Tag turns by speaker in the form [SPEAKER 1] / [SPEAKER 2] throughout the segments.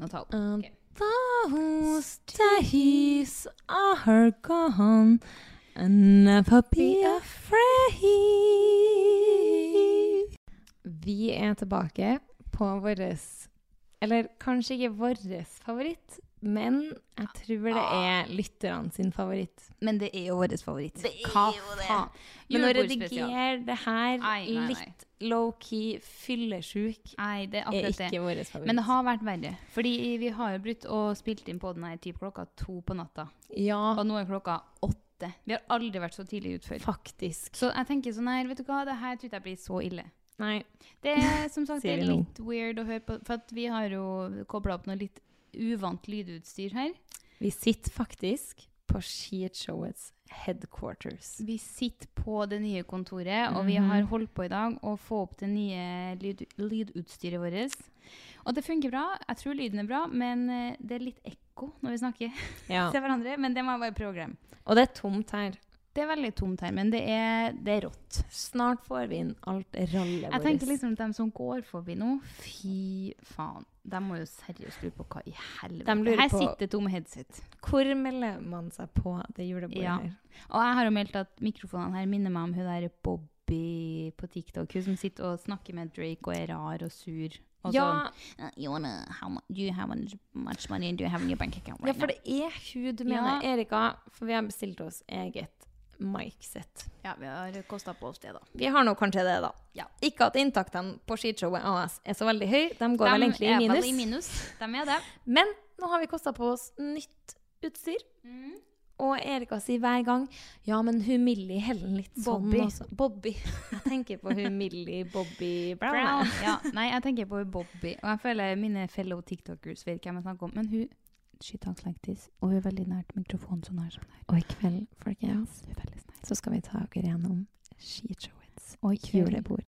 [SPEAKER 1] å ta opp.
[SPEAKER 2] Um,
[SPEAKER 1] Ok.
[SPEAKER 2] Those days are gone and never be afraid.
[SPEAKER 1] Vi er tilbake på vår Eller kanskje ikke vår favoritt, men jeg tror det er lytterne sin favoritt.
[SPEAKER 2] Men det er jo vår favoritt.
[SPEAKER 1] Det er Hva jo det. faen? Men å
[SPEAKER 2] Julebordspesial.
[SPEAKER 1] redigere det her
[SPEAKER 2] Nei, nei, nei.
[SPEAKER 1] litt low-key fyllesjuk
[SPEAKER 2] Nei, det er
[SPEAKER 1] er
[SPEAKER 2] akkurat det.
[SPEAKER 1] ikke vår favoritt.
[SPEAKER 2] Men det har vært verre. Fordi vi har jo brutt og spilt inn på den her type klokka to på natta. Og
[SPEAKER 1] Ja,
[SPEAKER 2] nå er klokka åtte. Vi har aldri vært så tidlig ute før.
[SPEAKER 1] faktisk.
[SPEAKER 2] Så jeg tenker sånn her, vet du hva, det her tror jeg ikke blir så ille.
[SPEAKER 1] Nei.
[SPEAKER 2] Det er som sagt det
[SPEAKER 1] Sier
[SPEAKER 2] er
[SPEAKER 1] vi nå.
[SPEAKER 2] litt weird å høre på, for at vi har jo kobla opp noe litt uvant lydutstyr her.
[SPEAKER 1] Vi sitter faktisk på Sheetshowets headquarters. Mhm.
[SPEAKER 2] Vi sitter på det nye kontoret, og vi har holdt på i dag å få opp det nye lyd, lydutstyret vårt. Og det funker bra. Jeg tror lyden er bra, men eh, det er litt ekko når vi snakker
[SPEAKER 1] Ja.
[SPEAKER 2] til hverandre. Men det må jeg bare prøve å glemme.
[SPEAKER 1] Og det er tomt her.
[SPEAKER 2] Det er veldig tomt her, men det er, det er rått.
[SPEAKER 1] Snart får vi inn alt rallet
[SPEAKER 2] Jeg tenker liksom at de som går forbi nå, fy faen. De må jo seriøst lure på hva i helvete.
[SPEAKER 1] De lurer
[SPEAKER 2] Her
[SPEAKER 1] på-
[SPEAKER 2] sitter to med headset.
[SPEAKER 1] Hvor melder man seg på det julebordet
[SPEAKER 2] Ja.
[SPEAKER 1] her?
[SPEAKER 2] Og jeg har jo meldt at mikrofonene her minner meg om hun der Bobby på TikTok. Hun som sitter og snakker med Drake og er rar og sur. Og
[SPEAKER 1] Ja,
[SPEAKER 2] sånn, uh, you wanna, how mu- do you have much money do you have in your bank account
[SPEAKER 1] ja,
[SPEAKER 2] right
[SPEAKER 1] for det er hun du mener,
[SPEAKER 2] Ja.
[SPEAKER 1] Erika. For vi har bestilt oss eget mic-sett.
[SPEAKER 2] now? Ja, vi har kosta på oss det, da.
[SPEAKER 1] Vi har nå kanskje det, da.
[SPEAKER 2] Ja.
[SPEAKER 1] Ikke at inntaktene på Skishowet AS er så veldig høye. De går vel egentlig i
[SPEAKER 2] er
[SPEAKER 1] minus.
[SPEAKER 2] vel i minus. De er det.
[SPEAKER 1] Men nå har vi kosta på oss nytt utstyr.
[SPEAKER 2] Mm.
[SPEAKER 1] Og Erika sier hver gang Ja, men hun Millie heller litt
[SPEAKER 2] Bobby.
[SPEAKER 1] sånn også. Bobby. Jeg tenker på hun Millie Bobby Brown.
[SPEAKER 2] Brown.
[SPEAKER 1] jeg.
[SPEAKER 2] Ja, nei, jeg tenker på Bobby. Og jeg føler mine fellow tiktokers vet hvem jeg snakker om. Men hun she talks like this, og hun er veldig nært mikrofonen. sånn her som det her.
[SPEAKER 1] Og i kveld, folkens,
[SPEAKER 2] Hun er veldig snær.
[SPEAKER 1] så skal vi ta dere gjennom skishowets
[SPEAKER 2] Og i kveld-
[SPEAKER 1] julebord.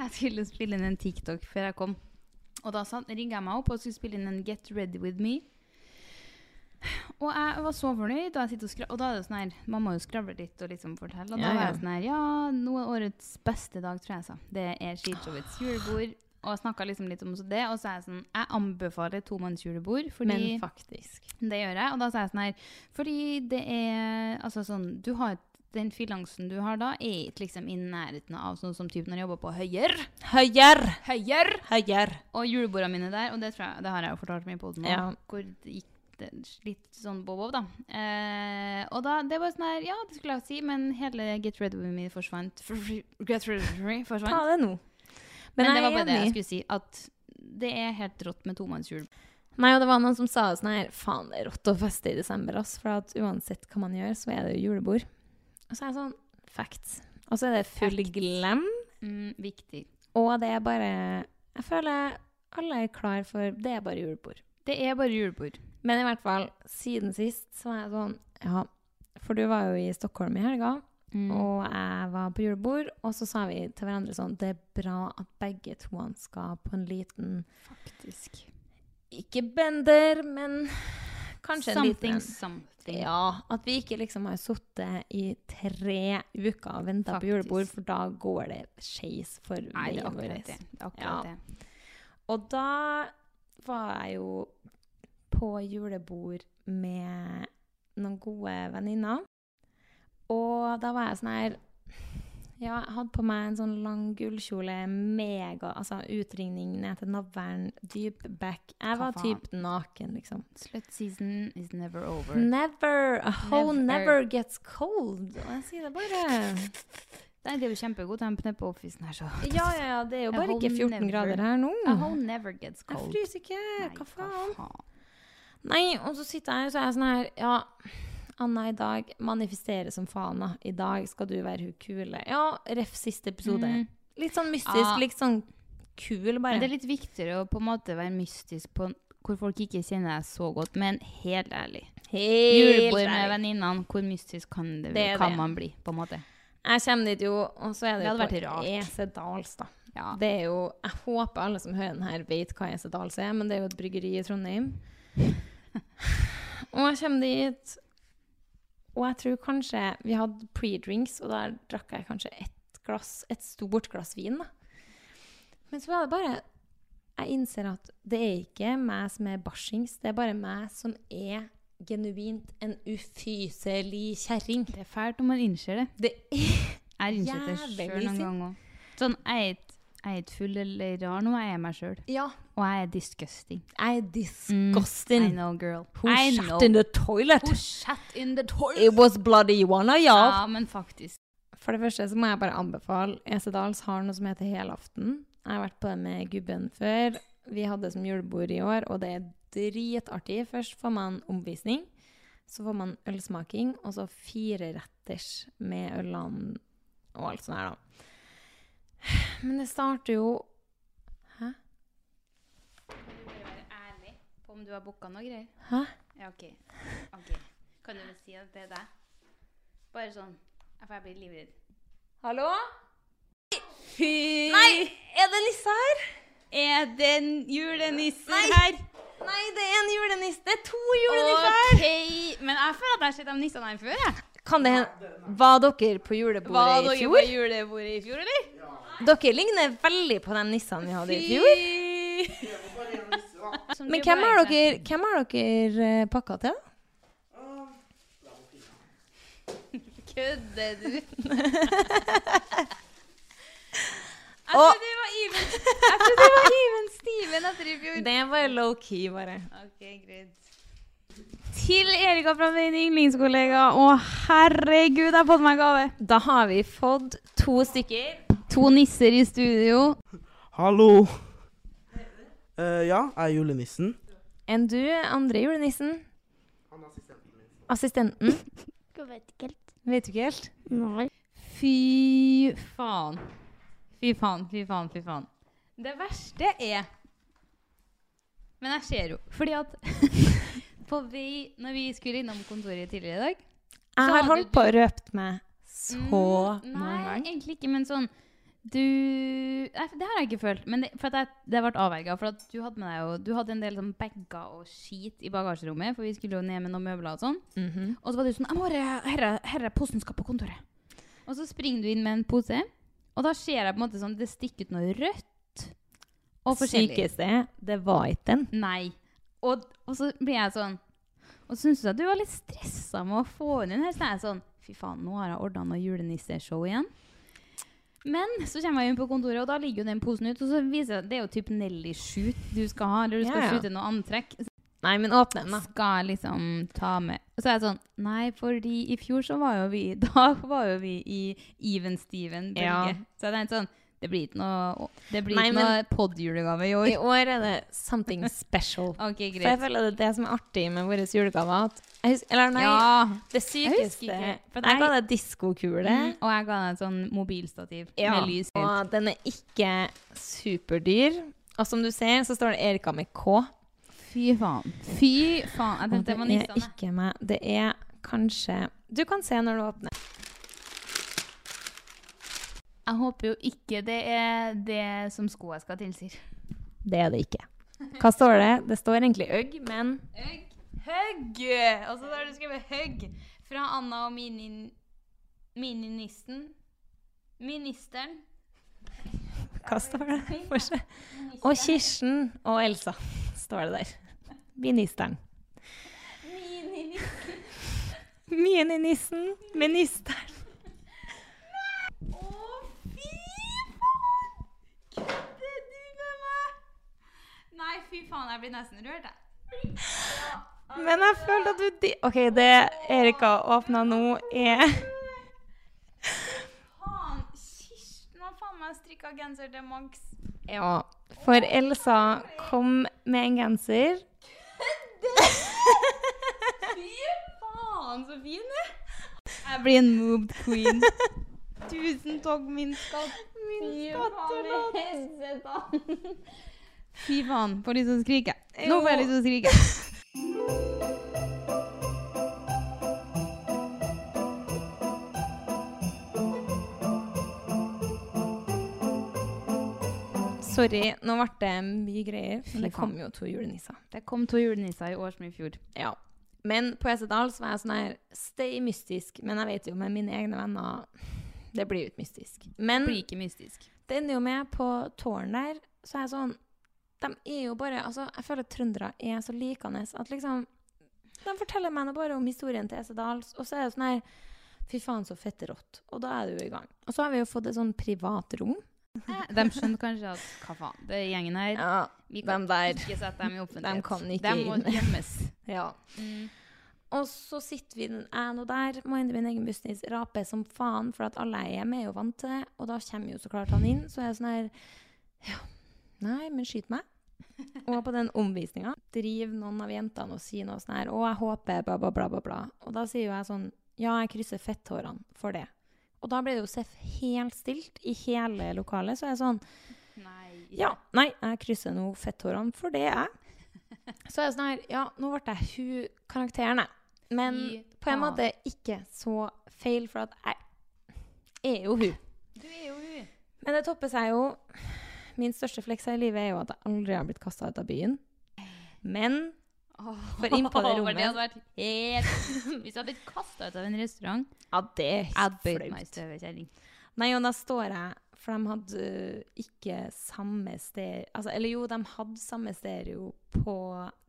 [SPEAKER 2] Jeg skulle spille inn en TikTok før jeg kom. Og da satt- ringte jeg meg opp og skulle spille inn en Get Ready With Me. Og jeg var så fornøyd, og, jeg sitter og, skra- og da er det sånn her Man må jo skravle litt og liksom fortelle. Og da
[SPEAKER 1] Ja,
[SPEAKER 2] var
[SPEAKER 1] ja.
[SPEAKER 2] jeg sånn her Ja, nå er årets beste dag, tror jeg jeg sa. Det er skishowets julebord. Og jeg snakka liksom litt om så det. Og så er jeg sånn Jeg anbefaler tomannsjulebord fordi
[SPEAKER 1] Men faktisk.
[SPEAKER 2] det gjør jeg, og da sier jeg sånn her Fordi det er Altså sånn Du har den finansen du har da, er ikke liksom i nærheten av sånn som typ når jeg jobber på Høyer.
[SPEAKER 1] Høyere!
[SPEAKER 2] Høyer!
[SPEAKER 1] Høyere!
[SPEAKER 2] Og julebordene mine der, og det, tror jeg, det har jeg jo fortalt meg i poden
[SPEAKER 1] Ja.
[SPEAKER 2] hvor det gikk det litt sånn bob-bob, da. Eh, og da, det var sånn her Ja, det skulle jeg si, men hele Get Ready With Me forsvant. Get Ready With Me forsvant.
[SPEAKER 1] Ta det nå.
[SPEAKER 2] Men, det var
[SPEAKER 1] jeg er
[SPEAKER 2] bare det jeg
[SPEAKER 1] enig.
[SPEAKER 2] skulle si, at det er helt rått med tomannsjul.
[SPEAKER 1] Nei, og det var noen som sa sånn her Faen, det er rått å feste i desember, ass. For at uansett hva man gjør, så er det jo julebord. Og så er jeg sånn Facts. Og så er det full
[SPEAKER 2] Facts.
[SPEAKER 1] glem,
[SPEAKER 2] Mm, viktig.
[SPEAKER 1] og det er bare Jeg føler
[SPEAKER 2] Alle er klar for Det er bare julebord.
[SPEAKER 1] Det er bare julebord.
[SPEAKER 2] Men i hvert fall, siden sist så var jeg sånn Ja, for du var jo i Stockholm i helga,
[SPEAKER 1] Mm.
[SPEAKER 2] og jeg var på julebord. Og så sa vi til hverandre sånn Det er bra at begge toene skal på en liten
[SPEAKER 1] Faktisk.
[SPEAKER 2] Ikke bender, men kanskje en liten
[SPEAKER 1] something,
[SPEAKER 2] en.
[SPEAKER 1] something.
[SPEAKER 2] Ja, at vi ikke liksom har sittet i tre uker og venta på
[SPEAKER 1] Faktisk.
[SPEAKER 2] julebord, for da går det skeis for
[SPEAKER 1] Nei, det er
[SPEAKER 2] veien vår.
[SPEAKER 1] akkurat det. det, er akkurat
[SPEAKER 2] Ja.
[SPEAKER 1] det.
[SPEAKER 2] Og da var jeg jo på julebord med noen gode venninner. Og da var jeg sånn her Ja, jeg hadde på meg en sånn lang gullkjole, mega Altså utringning ned til navlen, dyp back. Jeg
[SPEAKER 1] Hva
[SPEAKER 2] var
[SPEAKER 1] faen?
[SPEAKER 2] typ naken, liksom.
[SPEAKER 1] Slut season is never over.
[SPEAKER 2] Never, a hoe
[SPEAKER 1] Never.
[SPEAKER 2] never gets cold. Og jeg sier det bare.
[SPEAKER 1] Nei, det er jo kjempegod temperatur på officen her, så
[SPEAKER 2] Ja, ja, ja, det er
[SPEAKER 1] A
[SPEAKER 2] jo bare
[SPEAKER 1] hoe
[SPEAKER 2] ikke 14
[SPEAKER 1] never-
[SPEAKER 2] grader her nå.
[SPEAKER 1] A hole never gets
[SPEAKER 2] Jeg
[SPEAKER 1] cold.
[SPEAKER 2] fryser ikke.
[SPEAKER 1] Nei,
[SPEAKER 2] Hva faen?
[SPEAKER 1] faen?
[SPEAKER 2] Nei, og så sitter jeg her og så er jeg sånn her Ja, Anna, i dag manifestere som faen, da. I dag skal du være hun kule. Ja, ref siste episode.
[SPEAKER 1] Mm.
[SPEAKER 2] Litt sånn mystisk,
[SPEAKER 1] Ja.
[SPEAKER 2] litt sånn kul,
[SPEAKER 1] Men
[SPEAKER 2] bare.
[SPEAKER 1] det er litt viktigere å på en måte være mystisk på hvor folk ikke kjenner deg så godt, men helt ærlig. Julebord med
[SPEAKER 2] ærlig.
[SPEAKER 1] venninnene, hvor mystisk kan, det,
[SPEAKER 2] Det er
[SPEAKER 1] kan
[SPEAKER 2] det.
[SPEAKER 1] man bli, på en måte?
[SPEAKER 2] Jeg kommer dit jo, og så er det,
[SPEAKER 1] Det hadde vært
[SPEAKER 2] jo
[SPEAKER 1] rart.
[SPEAKER 2] på Esedals, da.
[SPEAKER 1] Ja.
[SPEAKER 2] Det er jo, jeg håper alle som hører den her, vet hva Esedals er, men det er jo et bryggeri i Trondheim. og jeg kommer dit, og jeg tror kanskje Vi hadde pre-drinks, og der drakk jeg kanskje et glass, et stort glass vin, da. Men så er det bare Jeg innser at det er ikke meg som er barsings, det er bare meg som er genuint en ufyselig kjerring.
[SPEAKER 1] Det er fælt om man innser det.
[SPEAKER 2] Det er
[SPEAKER 1] Jeg innser det
[SPEAKER 2] Jævlig
[SPEAKER 1] sjøl noen
[SPEAKER 2] sint.
[SPEAKER 1] ganger òg. Sånn, jeg er ikke- jeg er ikke full eller rar nå, jeg er meg sjøl.
[SPEAKER 2] Ja,
[SPEAKER 1] Og jeg er disgusting. Mm,
[SPEAKER 2] I disgusting.
[SPEAKER 1] I know, girl.
[SPEAKER 2] Who
[SPEAKER 1] I
[SPEAKER 2] shut
[SPEAKER 1] know.
[SPEAKER 2] in the toilet?
[SPEAKER 1] Who shut in the toilet?
[SPEAKER 2] It was bloody one of y'all.
[SPEAKER 1] Ja, men faktisk.
[SPEAKER 2] For det første så må jeg bare anbefale Esedals har noe som heter Helaften. Jeg har vært på det med gubben før. Vi hadde det som julebord i år, og det er dritartig. Først får man omvisning, så får man ølsmaking, og så fire retters med ølene og alt sånt her, da. Men det starter jo Hæ?
[SPEAKER 1] Ærlig på om du har booka noe greier.
[SPEAKER 2] Hæ?
[SPEAKER 1] Ja, OK. Ok. Kan du vel si at det er deg? Bare sånn. Jeg får jeg blir livredd.
[SPEAKER 2] Hallo? Nei! Er det nisse her?
[SPEAKER 1] Er det en julenisse
[SPEAKER 2] Nei.
[SPEAKER 1] her?
[SPEAKER 2] Nei, det er en julenisse. Det er to
[SPEAKER 1] OK. Men jeg føler at jeg har sett de nissene her før, jeg.
[SPEAKER 2] Kan det hende Var dere på julebordet i fjor?
[SPEAKER 1] julebordet i fjor, eller?
[SPEAKER 2] Dere ligner veldig på de nissene vi hadde i fjor. Men hvem har dere, hvem har dere eh, pakka til?
[SPEAKER 1] Kødder du? Jeg
[SPEAKER 2] Og-
[SPEAKER 1] trodde det var Even Jeg trodde det var Even Steven etter i fjor.
[SPEAKER 2] Det var low-key, bare.
[SPEAKER 1] Ok, greit.
[SPEAKER 2] Til Erika fra
[SPEAKER 1] Min yndlingskollega. Å, herregud, jeg har fått meg gave.
[SPEAKER 2] Da har vi fått to stykker.
[SPEAKER 1] To nisser i studio.
[SPEAKER 3] Hallo. Eh, ja, jeg er julenissen.
[SPEAKER 2] Enn du, andre julenissen? Assistenten? Vet du ikke helt?
[SPEAKER 1] Fy faen. Fy faen, fy faen, fy faen. Det verste er Men jeg ser jo Fordi at på vei Når vi skulle innom kontoret tidligere i dag
[SPEAKER 2] Jeg
[SPEAKER 1] hadde
[SPEAKER 2] har holdt
[SPEAKER 1] du-
[SPEAKER 2] på å røpe meg så
[SPEAKER 1] Mm,
[SPEAKER 2] mange
[SPEAKER 1] Nei,
[SPEAKER 2] ganger.
[SPEAKER 1] egentlig ikke, men sånn du Nei, Det har jeg ikke følt. Men det, for at jeg, det ble avverga. For at du hadde med deg jo Du hadde en del sånn bager og skit i bagasjerommet, for vi skulle jo ned med noen møbler og sånn.
[SPEAKER 2] Mhm.
[SPEAKER 1] Og så var du sånn 'Jeg må herre, herre, herre, posen skal på kontoret'. Og så springer du inn med en pose, og da ser jeg på en måte sånn Det stikker ut noe rødt. Og forskjellig.
[SPEAKER 2] Sykeste, det var ikke den.
[SPEAKER 1] Nei. Og, og så blir jeg sånn Og så syns jeg at du var litt stressa med å få henne inn her. Så er jeg sånn Fy faen, nå har jeg ordna noe julenisseshow igjen. Men så kommer jeg inn på kontoret, og da ligger jo den posen ut. Og så viser jeg at det er jo typ Nelly Shoot du skal ha, eller du skal
[SPEAKER 2] Ja, ja.
[SPEAKER 1] shoote noe antrekk.
[SPEAKER 2] Nei, men åpne den, da.
[SPEAKER 1] Skal liksom ta med Og så er jeg sånn Nei, fordi i fjor så var jo vi Da var jo vi i Even Steven
[SPEAKER 2] Ja.
[SPEAKER 1] Bølge. Så jeg tenkte sånn Det blir ikke noe, det blir
[SPEAKER 2] Nei,
[SPEAKER 1] ikke
[SPEAKER 2] men-
[SPEAKER 1] noe podjulegave i år.
[SPEAKER 2] I år er det something special.
[SPEAKER 1] Ok,
[SPEAKER 2] For jeg
[SPEAKER 1] greit.
[SPEAKER 2] føler det er det som er artig med våre julegaver. At jeg husker, eller nei,
[SPEAKER 1] Ja. Jeg
[SPEAKER 2] det sykeste
[SPEAKER 1] husker
[SPEAKER 2] Jeg,
[SPEAKER 1] ikke, for
[SPEAKER 2] ga
[SPEAKER 1] jeg-
[SPEAKER 2] deg diskokule.
[SPEAKER 1] Mm, og jeg ga deg en sånn mobilstativ med lys.
[SPEAKER 2] Og den er ikke superdyr. Og som du ser, så står det Erika med K.
[SPEAKER 1] Fy faen. Fy faen. Jeg
[SPEAKER 2] Og
[SPEAKER 1] tenkte
[SPEAKER 2] det
[SPEAKER 1] det var
[SPEAKER 2] er
[SPEAKER 1] nissene.
[SPEAKER 2] ikke meg. Det er kanskje Du kan se når du åpner.
[SPEAKER 1] Jeg håper jo ikke det er det som skoa skal tilsi.
[SPEAKER 2] Det er det ikke. Hva står det? Det står egentlig Øgg, men
[SPEAKER 1] Høgg. Høgg! Og så har du skrevet høgg. Fra Anna og mini, mininisten. Ministeren.
[SPEAKER 2] hva står det? For seg? Og Kirsten og Elsa står det der. Ministeren.
[SPEAKER 1] Mininisten.
[SPEAKER 2] Mininissen. Ministeren.
[SPEAKER 1] Å, fy faen! Kødder du med meg? Nei, fy faen, jeg blir nesten rørt, jeg.
[SPEAKER 2] Men jeg følte at du di- OK, det Erika åpna nå, er
[SPEAKER 1] Faen, Kirsten har faen meg strikka genser til Max.
[SPEAKER 2] Ja. For Elsa kom med en genser.
[SPEAKER 1] Fy faen, så fin du Jeg blir en moved queen. Tusen takk, min skatt. Min skattelodd. Fy faen, får lyst til å skrike. Nå får jeg lyst til å skrike.
[SPEAKER 2] Sorry, nå ble det mye greier. Men det
[SPEAKER 1] Fy faen.
[SPEAKER 2] kom jo to julenisser.
[SPEAKER 1] Det kom to julenisser i år som i fjor.
[SPEAKER 2] Ja. Men på Esedal så var jeg sånn her Stay mystisk. Men jeg vet jo med mine egne venner Det blir jo ikke mystisk. Men
[SPEAKER 1] Blir ikke mystisk.
[SPEAKER 2] det ender jo med på tårn der, så er jeg sånn De er jo bare Altså, jeg føler at trøndere er så likende at liksom De forteller meg nå bare om historien til Esedal, og så er det sånn her Fy faen, så fette rått. Og da er du i gang. Og så har vi jo fått et sånn privat rom.
[SPEAKER 1] De skjønner kanskje at hva faen, det er gjengen her.
[SPEAKER 2] Ja,
[SPEAKER 1] Vi
[SPEAKER 2] dem der.
[SPEAKER 1] ikke sette dem i offentlighet.
[SPEAKER 2] Dem kan ikke
[SPEAKER 1] Dem må
[SPEAKER 2] inn.
[SPEAKER 1] gjemmes. Mm.
[SPEAKER 2] Ja. Og så sitter vi den ene og der, må hente min egen business, rape som faen, for at alle jeg er med, er jo vant til det. Og da kommer jo så klart han inn. Så er jeg sånn her Ja, nei, men skyt meg. Og på den omvisninga driver noen av jentene og sier noe sånn her Å, jeg håper bla, bla, bla, bla, bla. Og da sier jo jeg sånn Ja, jeg krysser fetthårene for det. Og da ble det jo Seff helt stilt i hele lokalet. Så er jeg sånn
[SPEAKER 1] Nei.
[SPEAKER 2] ja, nei, jeg krysser nå fetthårene, for det er jeg. Så er jeg sånn her, ja, nå ble jeg hun karakteren, jeg. Men
[SPEAKER 1] Fy
[SPEAKER 2] på en
[SPEAKER 1] faen.
[SPEAKER 2] måte ikke så feil, for at jeg er jo hun.
[SPEAKER 1] Du er jo hun.
[SPEAKER 2] Men det topper seg jo. Min største fleks her i livet er jo at jeg aldri har blitt kasta ut av byen. Men For inn på det
[SPEAKER 1] Åh, for
[SPEAKER 2] rommet.
[SPEAKER 1] hadde vært helt Hvis jeg hadde blitt kasta ut av en restaurant,
[SPEAKER 2] ja, det er
[SPEAKER 1] jeg hadde bøyd meg i
[SPEAKER 2] flaut.
[SPEAKER 1] støvet, kjerring.
[SPEAKER 2] Nei, og da står jeg For de hadde ø, ikke samme stereo altså, Eller jo, de hadde samme stereo på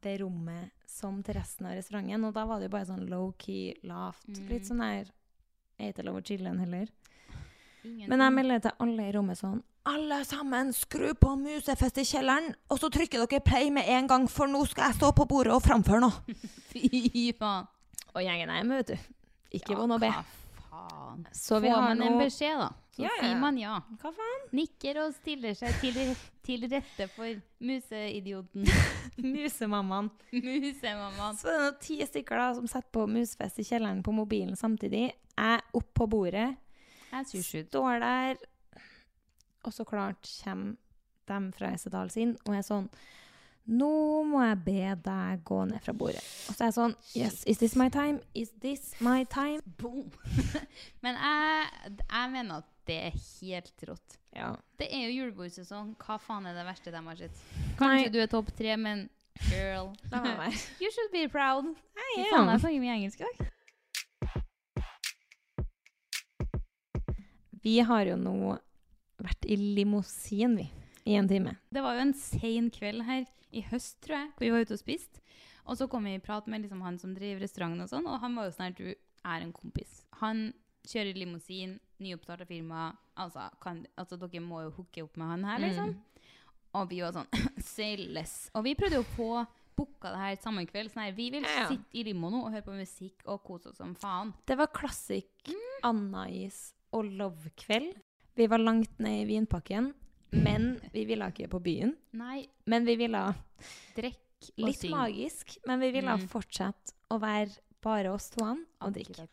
[SPEAKER 2] det rommet som til resten av restauranten. Og da var det jo bare sånn low-key, lavt.
[SPEAKER 1] Mm.
[SPEAKER 2] Litt sånn der Jeg er ikke lov å chille en heller. Men jeg melder til alle i rommet sånn Alle sammen, skru på musefest i kjelleren, og så trykker dere play med en gang, for nå skal jeg stå på bordet og framføre noe.
[SPEAKER 1] Fy faen.
[SPEAKER 2] Og gjengen er med, vet du. Ikke vondt å be.
[SPEAKER 1] Hva faen?
[SPEAKER 2] Så
[SPEAKER 1] Får
[SPEAKER 2] vi har
[SPEAKER 1] man en
[SPEAKER 2] nå
[SPEAKER 1] beskjed, da, så
[SPEAKER 2] Ja, ja, ja.
[SPEAKER 1] sier man ja.
[SPEAKER 2] Hva faen?
[SPEAKER 1] Nikker og stiller seg til, til rette for museidioten.
[SPEAKER 2] Musemammaen.
[SPEAKER 1] Musemammaen.
[SPEAKER 2] Så det er noen ti stykker da som setter på musefest i kjelleren på mobilen samtidig. Jeg er opp på bordet,
[SPEAKER 1] Jeg er sursut.
[SPEAKER 2] står der, og så klart kommer dem fra Esedal sin og er sånn Nå må jeg be deg gå ned fra bordet. Og så er jeg sånn Yes, is this my time? Is this my time?
[SPEAKER 1] Boom. Men jeg, jeg mener at det er helt rått.
[SPEAKER 2] Ja.
[SPEAKER 1] Det er jo julebordsesong. Hva faen er det verste de har sett?
[SPEAKER 2] Nei.
[SPEAKER 1] Kanskje du er topp tre, men girl
[SPEAKER 2] La meg være.
[SPEAKER 1] You should be proud. Fy
[SPEAKER 2] am.
[SPEAKER 1] faen, jeg snakker mye engelsk i dag.
[SPEAKER 2] Vi har jo nå vært i limousin, vi, i en time.
[SPEAKER 1] Det var jo en sein kveld her i høst, tror jeg, hvor vi var ute og spiste. Og så kom vi i prat med liksom han som driver restauranten og sånn, og han var jo sånn her, du er en kompis. Han kjører limousin, nyoppstarta firma, altså, kan, altså dere må jo hooke opp med han
[SPEAKER 2] Mm.
[SPEAKER 1] her, liksom. Og vi var sånn, say less. Og vi prøvde jo å få booka det her samme kveld, sånn her, vi vil
[SPEAKER 2] Ja, ja.
[SPEAKER 1] sitte i limo nå og høre på musikk og kose oss som faen. Mm.
[SPEAKER 2] Det var klassikk Anna-is og love-kveld. Vi var langt ned i vinpakken, men vi ville ikke på byen.
[SPEAKER 1] Nei,
[SPEAKER 2] Men vi ville
[SPEAKER 1] drekk og
[SPEAKER 2] Litt
[SPEAKER 1] syng.
[SPEAKER 2] magisk, men vi ville
[SPEAKER 1] Mm.
[SPEAKER 2] fortsette å være bare oss to og drikke.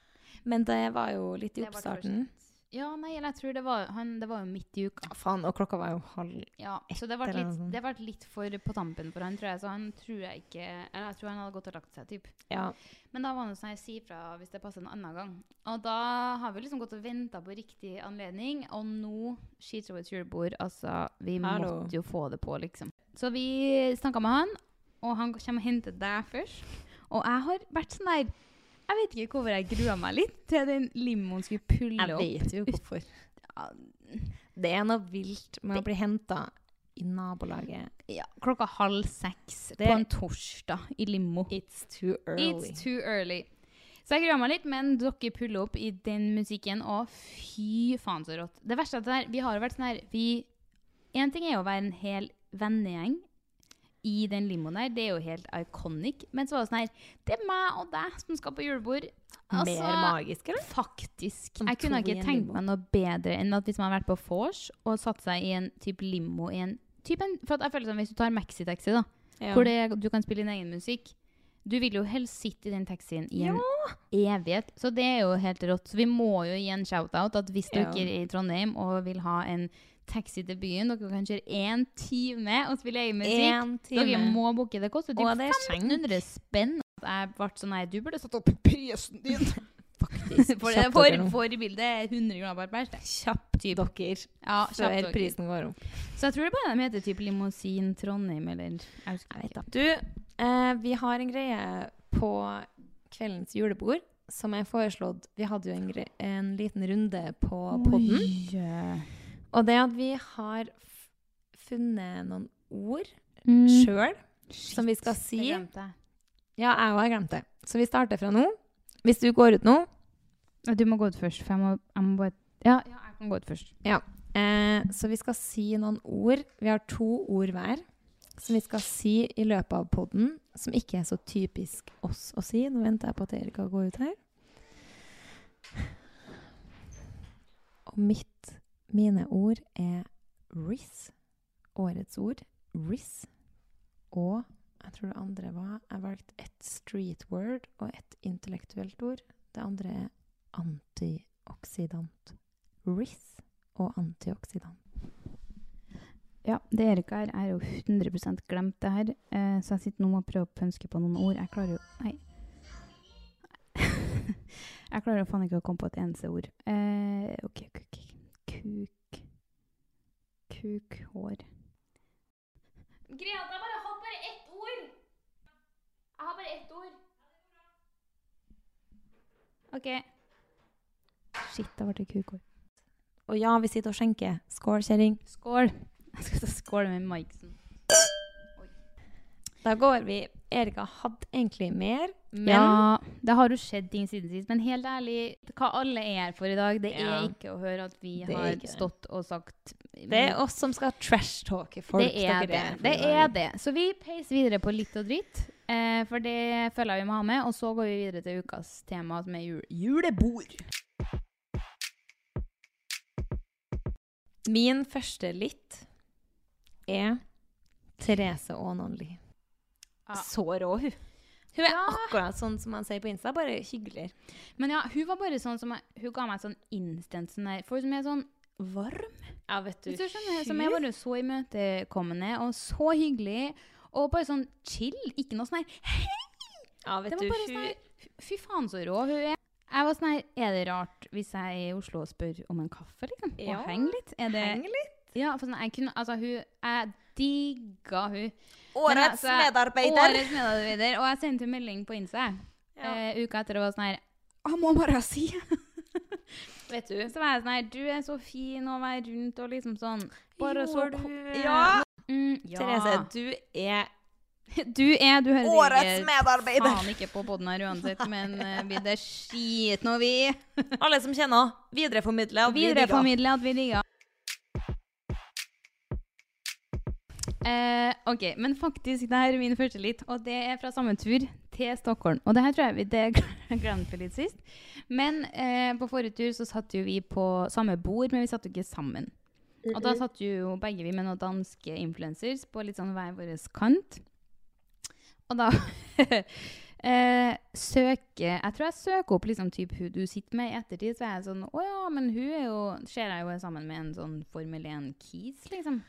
[SPEAKER 2] Men det var jo litt i
[SPEAKER 1] Det ble for
[SPEAKER 2] oppstarten.
[SPEAKER 1] sent.
[SPEAKER 2] Ja, nei, eller jeg tror det var, han, det var jo midt i uka.
[SPEAKER 1] Faen, og klokka var jo halv
[SPEAKER 2] Ja, så det ble
[SPEAKER 1] Etter
[SPEAKER 2] litt,
[SPEAKER 1] den.
[SPEAKER 2] det ble litt for på tampen for han, tror jeg. Så han tror jeg ikke Eller jeg tror han hadde gått og lagt seg, typ.
[SPEAKER 1] Ja.
[SPEAKER 2] Men da var det sånn jeg sier fra hvis det passer en annen gang. Og da har vi liksom gått og venta på riktig anledning, og nå skiter vi et julebord. Altså, vi
[SPEAKER 1] Hallo.
[SPEAKER 2] måtte jo få det på, liksom. Så vi snakka med han, og han kommer og henter deg først. Og jeg har vært sånn der Jeg vet ikke hvorfor jeg grua meg litt til den limoen skulle pulle
[SPEAKER 1] Jeg
[SPEAKER 2] opp.
[SPEAKER 1] vet jo hvorfor.
[SPEAKER 2] Ja,
[SPEAKER 1] Det er noe vilt med å bli henta i nabolaget.
[SPEAKER 2] Ja, klokka halv seks
[SPEAKER 1] Det-
[SPEAKER 2] på en torsdag i limo.
[SPEAKER 1] It's too early.
[SPEAKER 2] It's too early. Så jeg grua meg litt, men dere puller opp i den musikken, og fy faen så rått. Det verste er at det her, vi har jo vært sånn her vi, En ting er jo å være en hel vennegjeng i den limoen her, det er jo helt iconic. Men så var det sånn her Det er meg og deg som skal på julebord.
[SPEAKER 1] Mer magisk, eller?
[SPEAKER 2] Altså, Faktisk.
[SPEAKER 1] Som
[SPEAKER 2] Jeg
[SPEAKER 1] to
[SPEAKER 2] kunne
[SPEAKER 1] i
[SPEAKER 2] ikke
[SPEAKER 1] en
[SPEAKER 2] tenkt
[SPEAKER 1] limo.
[SPEAKER 2] meg noe bedre enn at hvis man har vært på vors og satt seg i en type limo i en type en, For at jeg føler sånn hvis du tar maxitaxi, da, hvor det, du kan spille din egen musikk Du vil jo helst sitte i den taxien i en evighet. Så det er jo helt rått. Så vi må jo gi en shout-out at hvis
[SPEAKER 1] Ja.
[SPEAKER 2] dere er i Trondheim og vil ha en taxi til byen, dere kan kjøre én time og spille egen musikk.
[SPEAKER 1] En
[SPEAKER 2] Dere
[SPEAKER 1] time.
[SPEAKER 2] må booke. Det koster
[SPEAKER 1] Og
[SPEAKER 2] typ
[SPEAKER 1] det er skjenk.
[SPEAKER 2] 500 spenn. Jeg ble sånn Nei, du burde satt opp prisen din.
[SPEAKER 1] Faktisk.
[SPEAKER 2] For, det-
[SPEAKER 1] Kjapt dere
[SPEAKER 2] for,
[SPEAKER 1] nå.
[SPEAKER 2] for bildet er 100 kroner per pers.
[SPEAKER 1] Kjapt dere
[SPEAKER 2] Ja, kjapt
[SPEAKER 1] før
[SPEAKER 2] dere.
[SPEAKER 1] prisen går opp.
[SPEAKER 2] Så jeg tror det bare de heter typ Limousin Trondheim eller jeg husker ikke.
[SPEAKER 1] Du, eh, vi har en greie på kveldens julebord som er foreslått Vi hadde jo en, gre en liten runde på podden.
[SPEAKER 2] Oi.
[SPEAKER 1] Og det at vi har f funnet noen ord
[SPEAKER 2] Mm.
[SPEAKER 1] sjøl som vi skal
[SPEAKER 2] Det
[SPEAKER 1] si.
[SPEAKER 2] glemte jeg.
[SPEAKER 1] Ja, jeg òg har glemt det. Så vi starter fra nå. Hvis du går ut nå
[SPEAKER 2] Ja, Du må gå ut først, for jeg må, jeg må bare ja, ja, jeg kan gå ut først.
[SPEAKER 1] eh, Så vi skal si noen ord. Vi har to ord hver som vi skal si i løpet av poden, som ikke er så typisk oss å si. Nå venter jeg på at Erika går ut her. Og mitt, mine ord er RIS. Årets ord. RIS. Og jeg tror det andre var Jeg valgte et street word og et intellektuelt ord. Det andre er antioksidant. RIS og antioksidant.
[SPEAKER 2] Ja, det Erika her er jo 100 glemt det her, eh, så jeg sitter nå og prøver å pønske på noen ord. Jeg klarer jo Nei. jeg klarer jo faen ikke å komme på et eneste ord. Eh, OK, OK, OK. Kuk Kukhår. Greta, jeg bare har bare ett ord! Jeg har bare ett ord. OK. Shit, da ble det kukhår.
[SPEAKER 1] Og ja, vi sitter og skjenker. Skål, kjerring.
[SPEAKER 2] Skål. Jeg skal ta skål med Mikeson.
[SPEAKER 1] Da går vi. Erika hadde egentlig mer, men
[SPEAKER 2] ja, det har jo skjedd ting siden sist, men helt ærlig, hva alle er her for i dag, det
[SPEAKER 1] Ja.
[SPEAKER 2] er ikke å høre at vi
[SPEAKER 1] Det er
[SPEAKER 2] har
[SPEAKER 1] ikke det.
[SPEAKER 2] stått og sagt
[SPEAKER 1] det er oss som skal trash-talke folk.
[SPEAKER 2] det er det. Det er det. Så vi peiser videre på litt og dritt, eh, for det føler jeg vi må ha med. Og så går vi videre til ukas tema, som er jul julebord.
[SPEAKER 1] Min første litt er Therese Aanonli.
[SPEAKER 2] Ja.
[SPEAKER 1] Så rå, hun. Hun er
[SPEAKER 2] Ja.
[SPEAKER 1] akkurat sånn som man sier på Insta, bare hyggeligere.
[SPEAKER 2] Men ja, hun var bare sånn som jeg, Hun ga meg sånn instant sånn der Folk som er sånn varm.
[SPEAKER 1] Ja, vet
[SPEAKER 2] Hvis du skjønner, som jeg bare så imøtekommende og så hyggelig. Og bare sånn chill. Ikke noe sånn her Hei!
[SPEAKER 1] Ja, vet
[SPEAKER 2] Det
[SPEAKER 1] du,
[SPEAKER 2] var bare
[SPEAKER 1] hun-
[SPEAKER 2] sånn her, Fy faen, så rå hun er. Jeg var sånn her, Er det rart hvis jeg er i Oslo og spør om en kaffe, liksom? Og
[SPEAKER 1] Ja,
[SPEAKER 2] henger litt? Er det,
[SPEAKER 1] Heng litt.
[SPEAKER 2] Ja, for sånn, jeg kunne, altså, hun, jeg digga hun. Men
[SPEAKER 1] Årets
[SPEAKER 2] altså,
[SPEAKER 1] medarbeider.
[SPEAKER 2] Årets medarbeider. Og jeg sendte en melding på Insta
[SPEAKER 1] Ja.
[SPEAKER 2] eh, uka etter og var sånn her Jeg må bare si
[SPEAKER 1] Vet du.
[SPEAKER 2] Så var jeg sånn her Du er så fin å være rundt og liksom sånn. Bare så
[SPEAKER 1] Gjorde
[SPEAKER 2] ko-
[SPEAKER 1] hun-
[SPEAKER 2] Ja. Mm, ja.
[SPEAKER 1] Therese, du er
[SPEAKER 2] Du er du hører
[SPEAKER 1] Årets
[SPEAKER 2] sikkert
[SPEAKER 1] medarbeider.
[SPEAKER 2] Faen ikke på podden her uansett, men eh, vi det skit nå, vi.
[SPEAKER 1] Alle som kjenner henne, videreformidle. og vi digger.
[SPEAKER 2] Videreformidle at vi digger. Eh, ok, men faktisk, det her er min første litt, og det er fra samme tur til Stockholm. Og det her tror jeg vi det glemte vi litt sist. Men eh, på forrige tur så satt jo vi på samme bord, men vi satt jo ikke sammen. Og da satt jo begge vi med noen danske influencers på litt sånn hver vår kant. Og da eh, søker Jeg tror jeg søker opp liksom typ hun du sitter med i ettertid. Så er jeg sånn Å ja, men hun er jo Ser jeg jo er sammen med en sånn Formel 1-kis, liksom.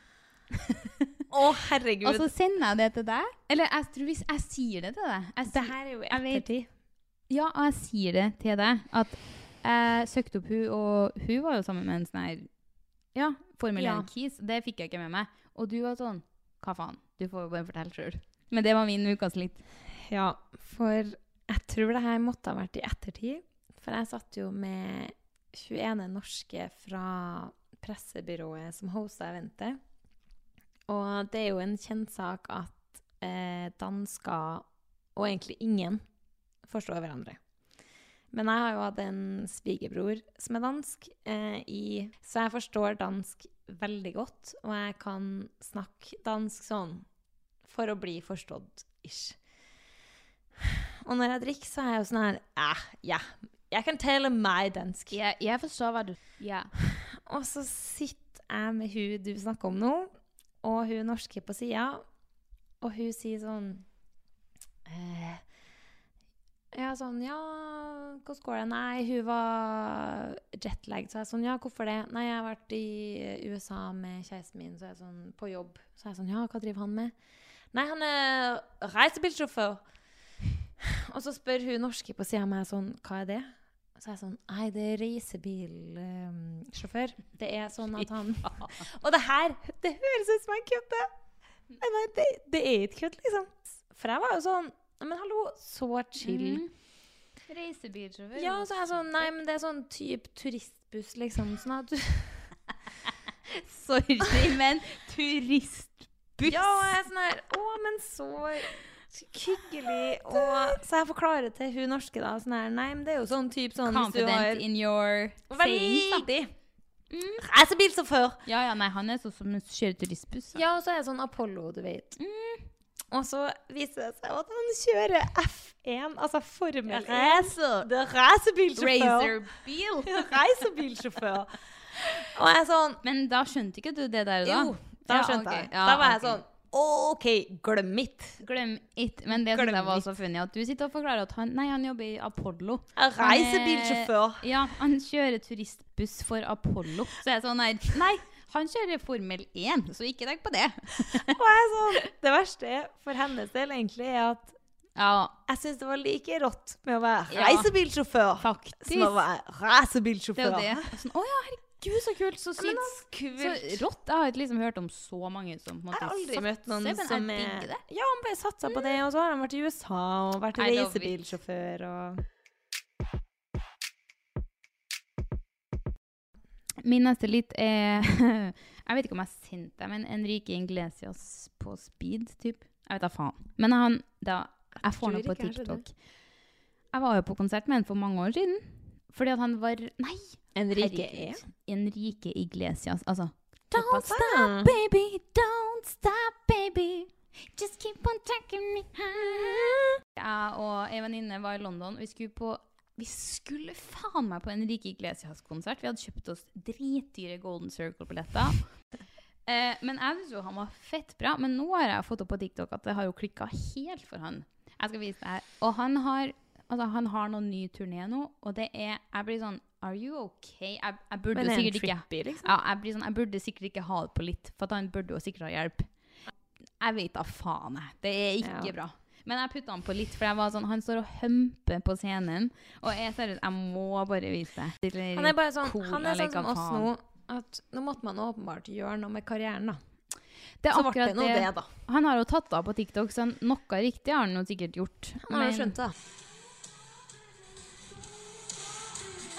[SPEAKER 1] Å, herregud.
[SPEAKER 2] Og så sender jeg det til deg. Eller jeg tror hvis jeg sier det til deg jeg
[SPEAKER 1] det
[SPEAKER 2] sier-
[SPEAKER 1] her er jo
[SPEAKER 2] jeg vet-
[SPEAKER 1] ettertid.
[SPEAKER 2] Ja, og jeg sier det til deg. At jeg søkte opp hun, og hun var jo sammen med en sånn her Ja, Formel
[SPEAKER 1] Ja.
[SPEAKER 2] 1-kis. Det fikk jeg ikke med meg. Og du var sånn Hva faen? Du får jo bare fortelle sjøl. Men det var min ukas litt.
[SPEAKER 1] Ja, for jeg tror det her måtte ha vært i ettertid. For jeg satt jo med 21 norske fra pressebyrået som hosta eventet. Og det er jo en kjent sak at eh, dansker, og egentlig ingen, forstår hverandre. Men jeg har jo hatt en svigerbror som er dansk, eh, i, så jeg forstår dansk veldig godt. Og jeg kan snakke dansk sånn for å bli forstått, ish. Og når jeg drikker, så er jeg jo sånn her eh, Ja, jeg kan tale meg dansk.
[SPEAKER 2] jeg forstår hva du Ja.
[SPEAKER 1] Og så sitter jeg med hun du snakker om nå, og hun norske på sida, og hun sier sånn eh, Ja, sånn Ja, hvordan går det? Nei, hun var jetlagd. Så jeg er sånn Ja, hvorfor det? Nei, jeg har vært i USA med kjæresten min, så jeg er sånn På jobb. Så jeg er sånn Ja, hva driver han med? Nei, han er reisebilsjåfør. Og så spør hun norske på sida av meg sånn Hva er det? Så er jeg sånn Nei, det er reisebilsjåfør. Det er sånn at han Og det her Det høres ut som jeg kødder! Men Nei, det, det er ikke kødd, liksom. For jeg var jo sånn «Nei, Men hallo, så chill.
[SPEAKER 2] Mm. Reisebilsjåfør.
[SPEAKER 1] Ja, og så er jeg sånn Nei, men det er sånn type turistbuss, liksom. Sånn at du
[SPEAKER 2] Sorry, men turistbuss.
[SPEAKER 1] Ja, og jeg er sånn her Å, men så hyggelig. Og så jeg forklarer til hun norske, da, sånn her Nei, men det er jo sånn type sånn hvis du har
[SPEAKER 2] Confident in your sayings, da. Mm.
[SPEAKER 1] Veldig! Reisebilsjåfør!
[SPEAKER 2] Ja, ja, nei, han er sånn som kjører turistbuss. da. Mm.
[SPEAKER 1] Ja, og så er det sånn Apollo, du vet. Og så viser det seg at han kjører F1, altså Formel 1. Det er racerbilsjåfør.
[SPEAKER 2] Racerbil.
[SPEAKER 1] Reisebilsjåfør. Og jeg er sånn
[SPEAKER 2] Men da skjønte ikke du det der da?
[SPEAKER 1] Jo, da
[SPEAKER 2] Ja,
[SPEAKER 1] skjønte
[SPEAKER 2] ok.
[SPEAKER 1] jeg.
[SPEAKER 2] Ja,
[SPEAKER 1] Da var jeg
[SPEAKER 2] ok.
[SPEAKER 1] sånn OK, glem mitt.
[SPEAKER 2] Glem it. Men det synes
[SPEAKER 1] Glem
[SPEAKER 2] jeg var
[SPEAKER 1] it.
[SPEAKER 2] så funny at du sitter og forklarer at han Nei, han jobber i Apollo.
[SPEAKER 1] Jeg
[SPEAKER 2] Han er-
[SPEAKER 1] reisebilsjåfør.
[SPEAKER 2] Ja, han kjører turistbuss for Apollo. Så jeg er sånn her Nei, han kjører Formel 1, så ikke tenk på det.
[SPEAKER 1] Og jeg er sånn Det verste for hennes del egentlig er at
[SPEAKER 2] Ja,
[SPEAKER 1] jeg syns det var like rått med å være
[SPEAKER 2] Ja,
[SPEAKER 1] reisebilsjåfør
[SPEAKER 2] faktisk.
[SPEAKER 1] som å være
[SPEAKER 2] det er
[SPEAKER 1] racerbilsjåfør.
[SPEAKER 2] jo det. Og Sånn, Å ja, herregud, så kult. Så
[SPEAKER 1] Men
[SPEAKER 2] sykt.
[SPEAKER 1] altså, kult.
[SPEAKER 2] Så rått. Jeg har ikke liksom hørt om så mange som på en
[SPEAKER 1] Jeg har
[SPEAKER 2] måte
[SPEAKER 1] aldri
[SPEAKER 2] satser,
[SPEAKER 1] møtt noen
[SPEAKER 2] men jeg
[SPEAKER 1] som
[SPEAKER 2] digger det.
[SPEAKER 1] Ja, han bare satsa på det, og så har han vært i USA og vært
[SPEAKER 2] I love it.
[SPEAKER 1] reisebilsjåfør og
[SPEAKER 2] Min neste litt er Jeg vet ikke om jeg sendte deg, men Enrique Inglesias på speed, typ. Jeg vet da faen. Men han da, Jeg får
[SPEAKER 1] tror
[SPEAKER 2] noe på
[SPEAKER 1] ikke jeg skjønner.
[SPEAKER 2] TikTok. Jeg var jo på konsert med han for mange år siden. Fordi at han var Nei! herregud. Enrique Iglesias. Altså Don't stop, baby. Don't stop, baby. Just keep on tracking me. Jeg og ei venninne var i London. og Vi skulle på vi skulle faen meg på Enrique Iglesias-konsert. Vi hadde kjøpt oss dritdyre Golden Circle-billetter. Eh, men jeg syns jo han var fett bra. Men nå har jeg fått opp på TikTok at det har jo klikka helt for han. Jeg skal vise deg her. Og han har, altså, han har noen ny turné nå, og det er Jeg blir sånn Are you okay? Jeg, jeg burde
[SPEAKER 1] Men er
[SPEAKER 2] jo
[SPEAKER 1] han
[SPEAKER 2] sikkert ikke
[SPEAKER 1] trippy, liksom?
[SPEAKER 2] ja, jeg, blir sånn, jeg burde sikkert ikke ha det på litt, for at han burde jo sikkert ha hjelp. Jeg vet da faen, jeg. Det er ikke
[SPEAKER 1] Ja.
[SPEAKER 2] bra. Men jeg putta han på litt, for jeg var sånn, han står og humper på scenen. Og jeg seriøst, jeg må bare vise det.
[SPEAKER 1] Han er bare sånn,
[SPEAKER 2] Cool,
[SPEAKER 1] han er sånn
[SPEAKER 2] eller
[SPEAKER 1] som
[SPEAKER 2] hva
[SPEAKER 1] oss
[SPEAKER 2] faen.
[SPEAKER 1] nå, at nå måtte man åpenbart gjøre noe med karrieren, da.
[SPEAKER 2] Det er
[SPEAKER 1] Så ble det
[SPEAKER 2] akkurat
[SPEAKER 1] nå det, da.
[SPEAKER 2] Han har jo tatt av på TikTok, så han- noe riktig har han jo sikkert gjort.
[SPEAKER 1] Han har
[SPEAKER 2] Men-
[SPEAKER 1] jo skjønt det, da.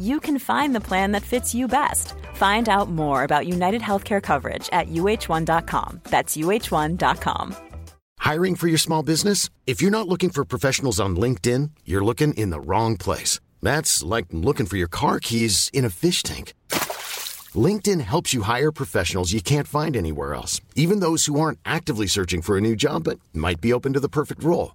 [SPEAKER 4] you can find the plan that fits you best. Find out more about United Healthcare coverage at uh1.com. That's uh1.com.
[SPEAKER 5] Hiring for your small business? If you're not looking for professionals on LinkedIn, you're looking in the wrong place. That's like looking for your car keys in a fish tank. LinkedIn helps you hire professionals you can't find anywhere else, even those who aren't actively searching for a new job but might be open to the perfect role.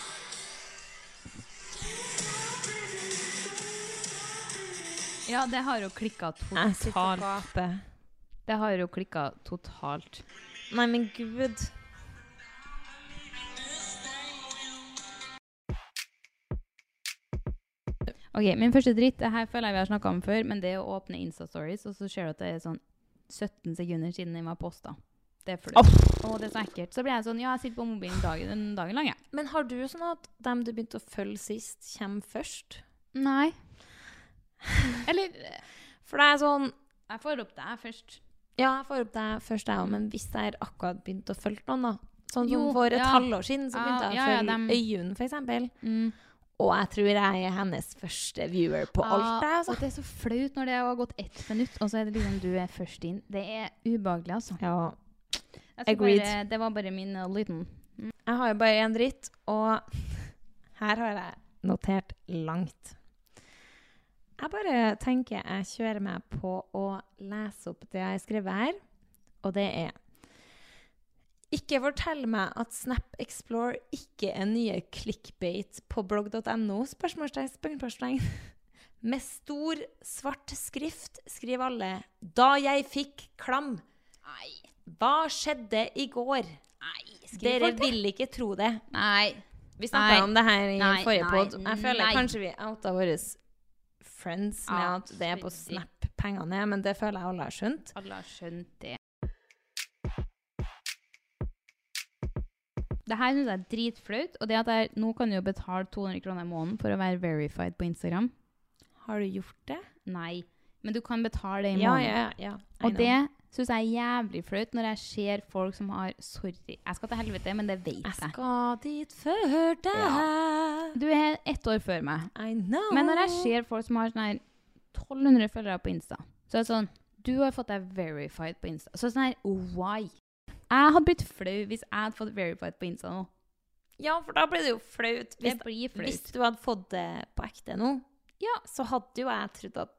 [SPEAKER 2] Ja, det har jo klikka
[SPEAKER 1] Jeg sitter og
[SPEAKER 2] totalt. Det har jo klikka totalt.
[SPEAKER 1] Nei, men gud.
[SPEAKER 2] Ok, Min første dritt det her føler jeg vi har snakka om før, men det er å åpne Insta-stories, og så ser du at det er sånn 17 sekunder siden den var posta. Det er flaut. Å, det er så ekkelt. Så blir jeg sånn Ja, jeg sitter på mobilen dagen, dagen lang, jeg.
[SPEAKER 1] Men har du sånn at dem du begynte å følge sist, kommer først?
[SPEAKER 2] Nei. Eller
[SPEAKER 1] For det er sånn
[SPEAKER 2] Jeg får opp deg først.
[SPEAKER 1] Ja, jeg får opp deg først, jeg òg, men hvis jeg har akkurat begynt å følge noen, da Sånn som
[SPEAKER 2] Jo,
[SPEAKER 1] for et
[SPEAKER 2] ja.
[SPEAKER 1] halvår siden, så
[SPEAKER 2] Ja,
[SPEAKER 1] begynte jeg å
[SPEAKER 2] ja, ja,
[SPEAKER 1] følge
[SPEAKER 2] dem- Mm.
[SPEAKER 1] Øyunn, for eksempel. Og jeg tror jeg er hennes første viewer på alt, jeg,
[SPEAKER 2] Ja,
[SPEAKER 1] altså.
[SPEAKER 2] Ah, og det er så flaut når det har gått ett minutt, og så er det liksom du er først inn. Det er ubehagelig, altså.
[SPEAKER 1] Ja.
[SPEAKER 2] Jeg skal
[SPEAKER 1] Agreed.
[SPEAKER 2] Bare, det var bare min uh, liten
[SPEAKER 1] Jeg har jo bare én dritt, og her har jeg notert langt. Jeg bare tenker jeg kjører meg på å lese opp det jeg har skrevet her, og det er Ikke fortell meg at Snap Explore ikke er nye clickbait på blogg.no? Spørsmålstegn, spørsmålstegn. Med stor, svart skrift skriver alle 'Da jeg fikk klam'. Hva skjedde i går? Dere
[SPEAKER 2] folk det?
[SPEAKER 1] vil ikke tro det.
[SPEAKER 2] Nei.
[SPEAKER 1] Vi
[SPEAKER 2] Nei.
[SPEAKER 1] snakka om det her i
[SPEAKER 2] Nei,
[SPEAKER 1] forrige
[SPEAKER 2] nei,
[SPEAKER 1] pod. Jeg føler
[SPEAKER 2] nei.
[SPEAKER 1] kanskje vi outa våre friends med at det er på
[SPEAKER 2] Absolutt.
[SPEAKER 1] Snap pengene er, men det føler jeg alle har skjønt.
[SPEAKER 2] Alle har skjønt det. Det her synes jeg er dritflaut. Og det at jeg nå kan du jo betale 200 kroner i måneden for å være verified på Instagram.
[SPEAKER 1] Har du gjort det?
[SPEAKER 2] Nei. Men du kan betale det i
[SPEAKER 1] Ja,
[SPEAKER 2] måneden.
[SPEAKER 1] ja, ja. I
[SPEAKER 2] Og
[SPEAKER 1] know.
[SPEAKER 2] det syns jeg er jævlig flaut når jeg ser folk som har Sorry, jeg skal til helvete, men det vet
[SPEAKER 1] Jeg
[SPEAKER 2] jeg.
[SPEAKER 1] skal dit før deg.
[SPEAKER 2] Du er ett år før meg.
[SPEAKER 1] I know.
[SPEAKER 2] Men når jeg ser folk som har sånn her 1200 følgere på Insta, så er det sånn Du har fått deg verified på Insta. Så sånn her Why? Jeg hadde blitt flau hvis jeg hadde fått verified på Insta nå.
[SPEAKER 1] Ja, for da blir det jo flaut.
[SPEAKER 2] Det
[SPEAKER 1] Hvis,
[SPEAKER 2] blir
[SPEAKER 1] hvis
[SPEAKER 2] flaut.
[SPEAKER 1] du hadde fått det på ekte nå,
[SPEAKER 2] Ja.
[SPEAKER 1] så hadde jo jeg trodd at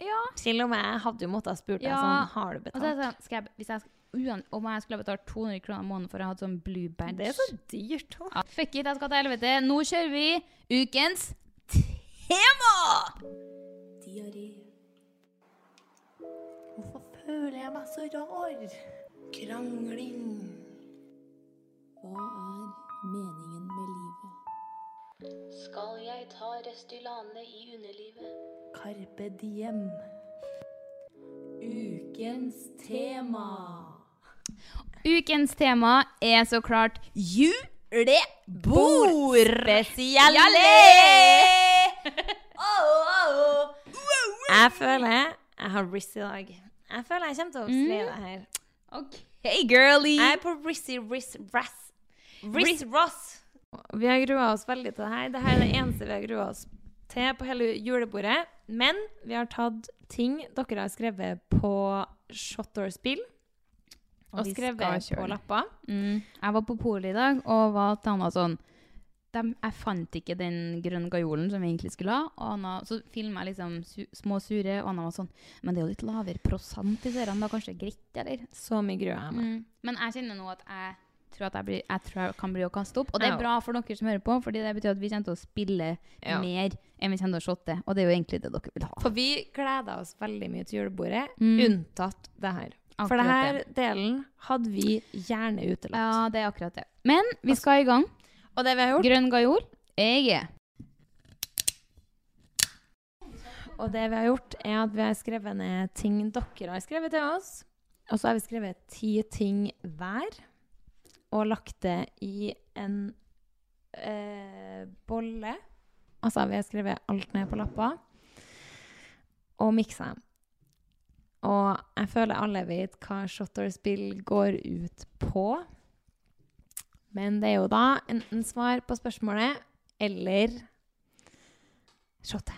[SPEAKER 2] Ja.
[SPEAKER 1] Til og med jeg hadde jo måttet spurt deg
[SPEAKER 2] Ja.
[SPEAKER 1] sånn Har du
[SPEAKER 2] Og så er det
[SPEAKER 1] betalt?
[SPEAKER 2] sånn, skal jeg, hvis jeg, uan, om jeg skulle ha betalt 200 kroner i måneden for å ha hatt sånn blue badge
[SPEAKER 1] Det er så dyrt òg.
[SPEAKER 2] Ja, Fuck it, jeg skal til helvete. Nå kjører vi ukens tema!
[SPEAKER 6] Diaré. Hvorfor føler jeg meg så rar? Krangling. Hva er meningen med livet? Skal jeg ta Restylane i underlivet? Carpe diem. Ukens tema.
[SPEAKER 2] Ukens tema er så klart julebord!
[SPEAKER 1] Spesielle! Jeg føler jeg har Rizz i dag. Jeg føler jeg kommer til å slå det her.
[SPEAKER 2] Mm. OK, girlie!
[SPEAKER 1] Jeg er på Rizzy Rizz Rass. Rizz Ross. Vi har grua oss veldig til det her. Det her er det eneste vi har grua oss til på hele julebordet. Men vi har tatt ting dere har skrevet på Shot or Spill, og
[SPEAKER 2] vi
[SPEAKER 1] skrevet
[SPEAKER 2] skal kjøre.
[SPEAKER 1] på lapper.
[SPEAKER 2] Mm. Jeg var på polet i dag og var til Anna sånn «Dem- Jeg fant ikke den grønne gajolen som vi egentlig skulle ha. Og Anna, så filma jeg liksom su små sure, og Anna var sånn Men det er jo litt lavere prosent i dørene, da kanskje det er greit, eller?
[SPEAKER 1] Så mye grua jeg meg.
[SPEAKER 2] Mm. Men jeg kjenner nå at jeg tror at jeg, blir, jeg tror jeg kan bli å kaste opp. Og det
[SPEAKER 1] Ja.
[SPEAKER 2] er bra for dere som hører på, Fordi det betyr at vi kommer til å spille
[SPEAKER 1] Ja.
[SPEAKER 2] mer enn vi kommer til å shotte. Og det er jo egentlig det dere vil ha.
[SPEAKER 1] For vi gleda oss veldig mye til julebordet,
[SPEAKER 2] Mm.
[SPEAKER 1] unntatt det her. For det
[SPEAKER 2] Akkurat
[SPEAKER 1] her delen hadde vi gjerne utelatt.
[SPEAKER 2] Ja, det er akkurat det. Men vi skal i gang.
[SPEAKER 1] Og det vi har gjort
[SPEAKER 2] Grønn gajol. Jeg er Og det vi har gjort, er at vi har skrevet ned ting dere har skrevet til oss. Og så har vi skrevet ti ting hver, og lagt det i en eh, bolle. Altså, vi har skrevet alt ned på lapper, og miksa dem. Og jeg føler alle vet hva shot or spill går ut på. Men det er jo da enten svar på spørsmålet eller shotte.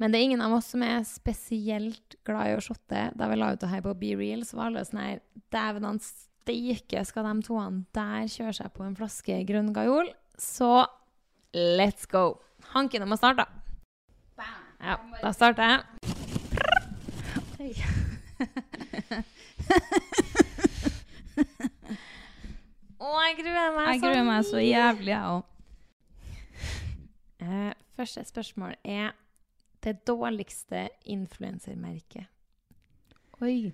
[SPEAKER 2] Men det er ingen av oss som er spesielt glad i å shotte. Da vi la ut det her på Be Real, så var alle sånn her Dæven han steike, skal de toene der kjøre seg på en flaske grønn gajol? Så let's go. Hanken om å starte. Ja, da starter jeg.
[SPEAKER 7] Oi.
[SPEAKER 2] Å, jeg gruer meg
[SPEAKER 7] Jeg gruer meg så jævlig, jeg òg.
[SPEAKER 2] Eh, første spørsmål er det dårligste influensermerket.
[SPEAKER 7] Oi.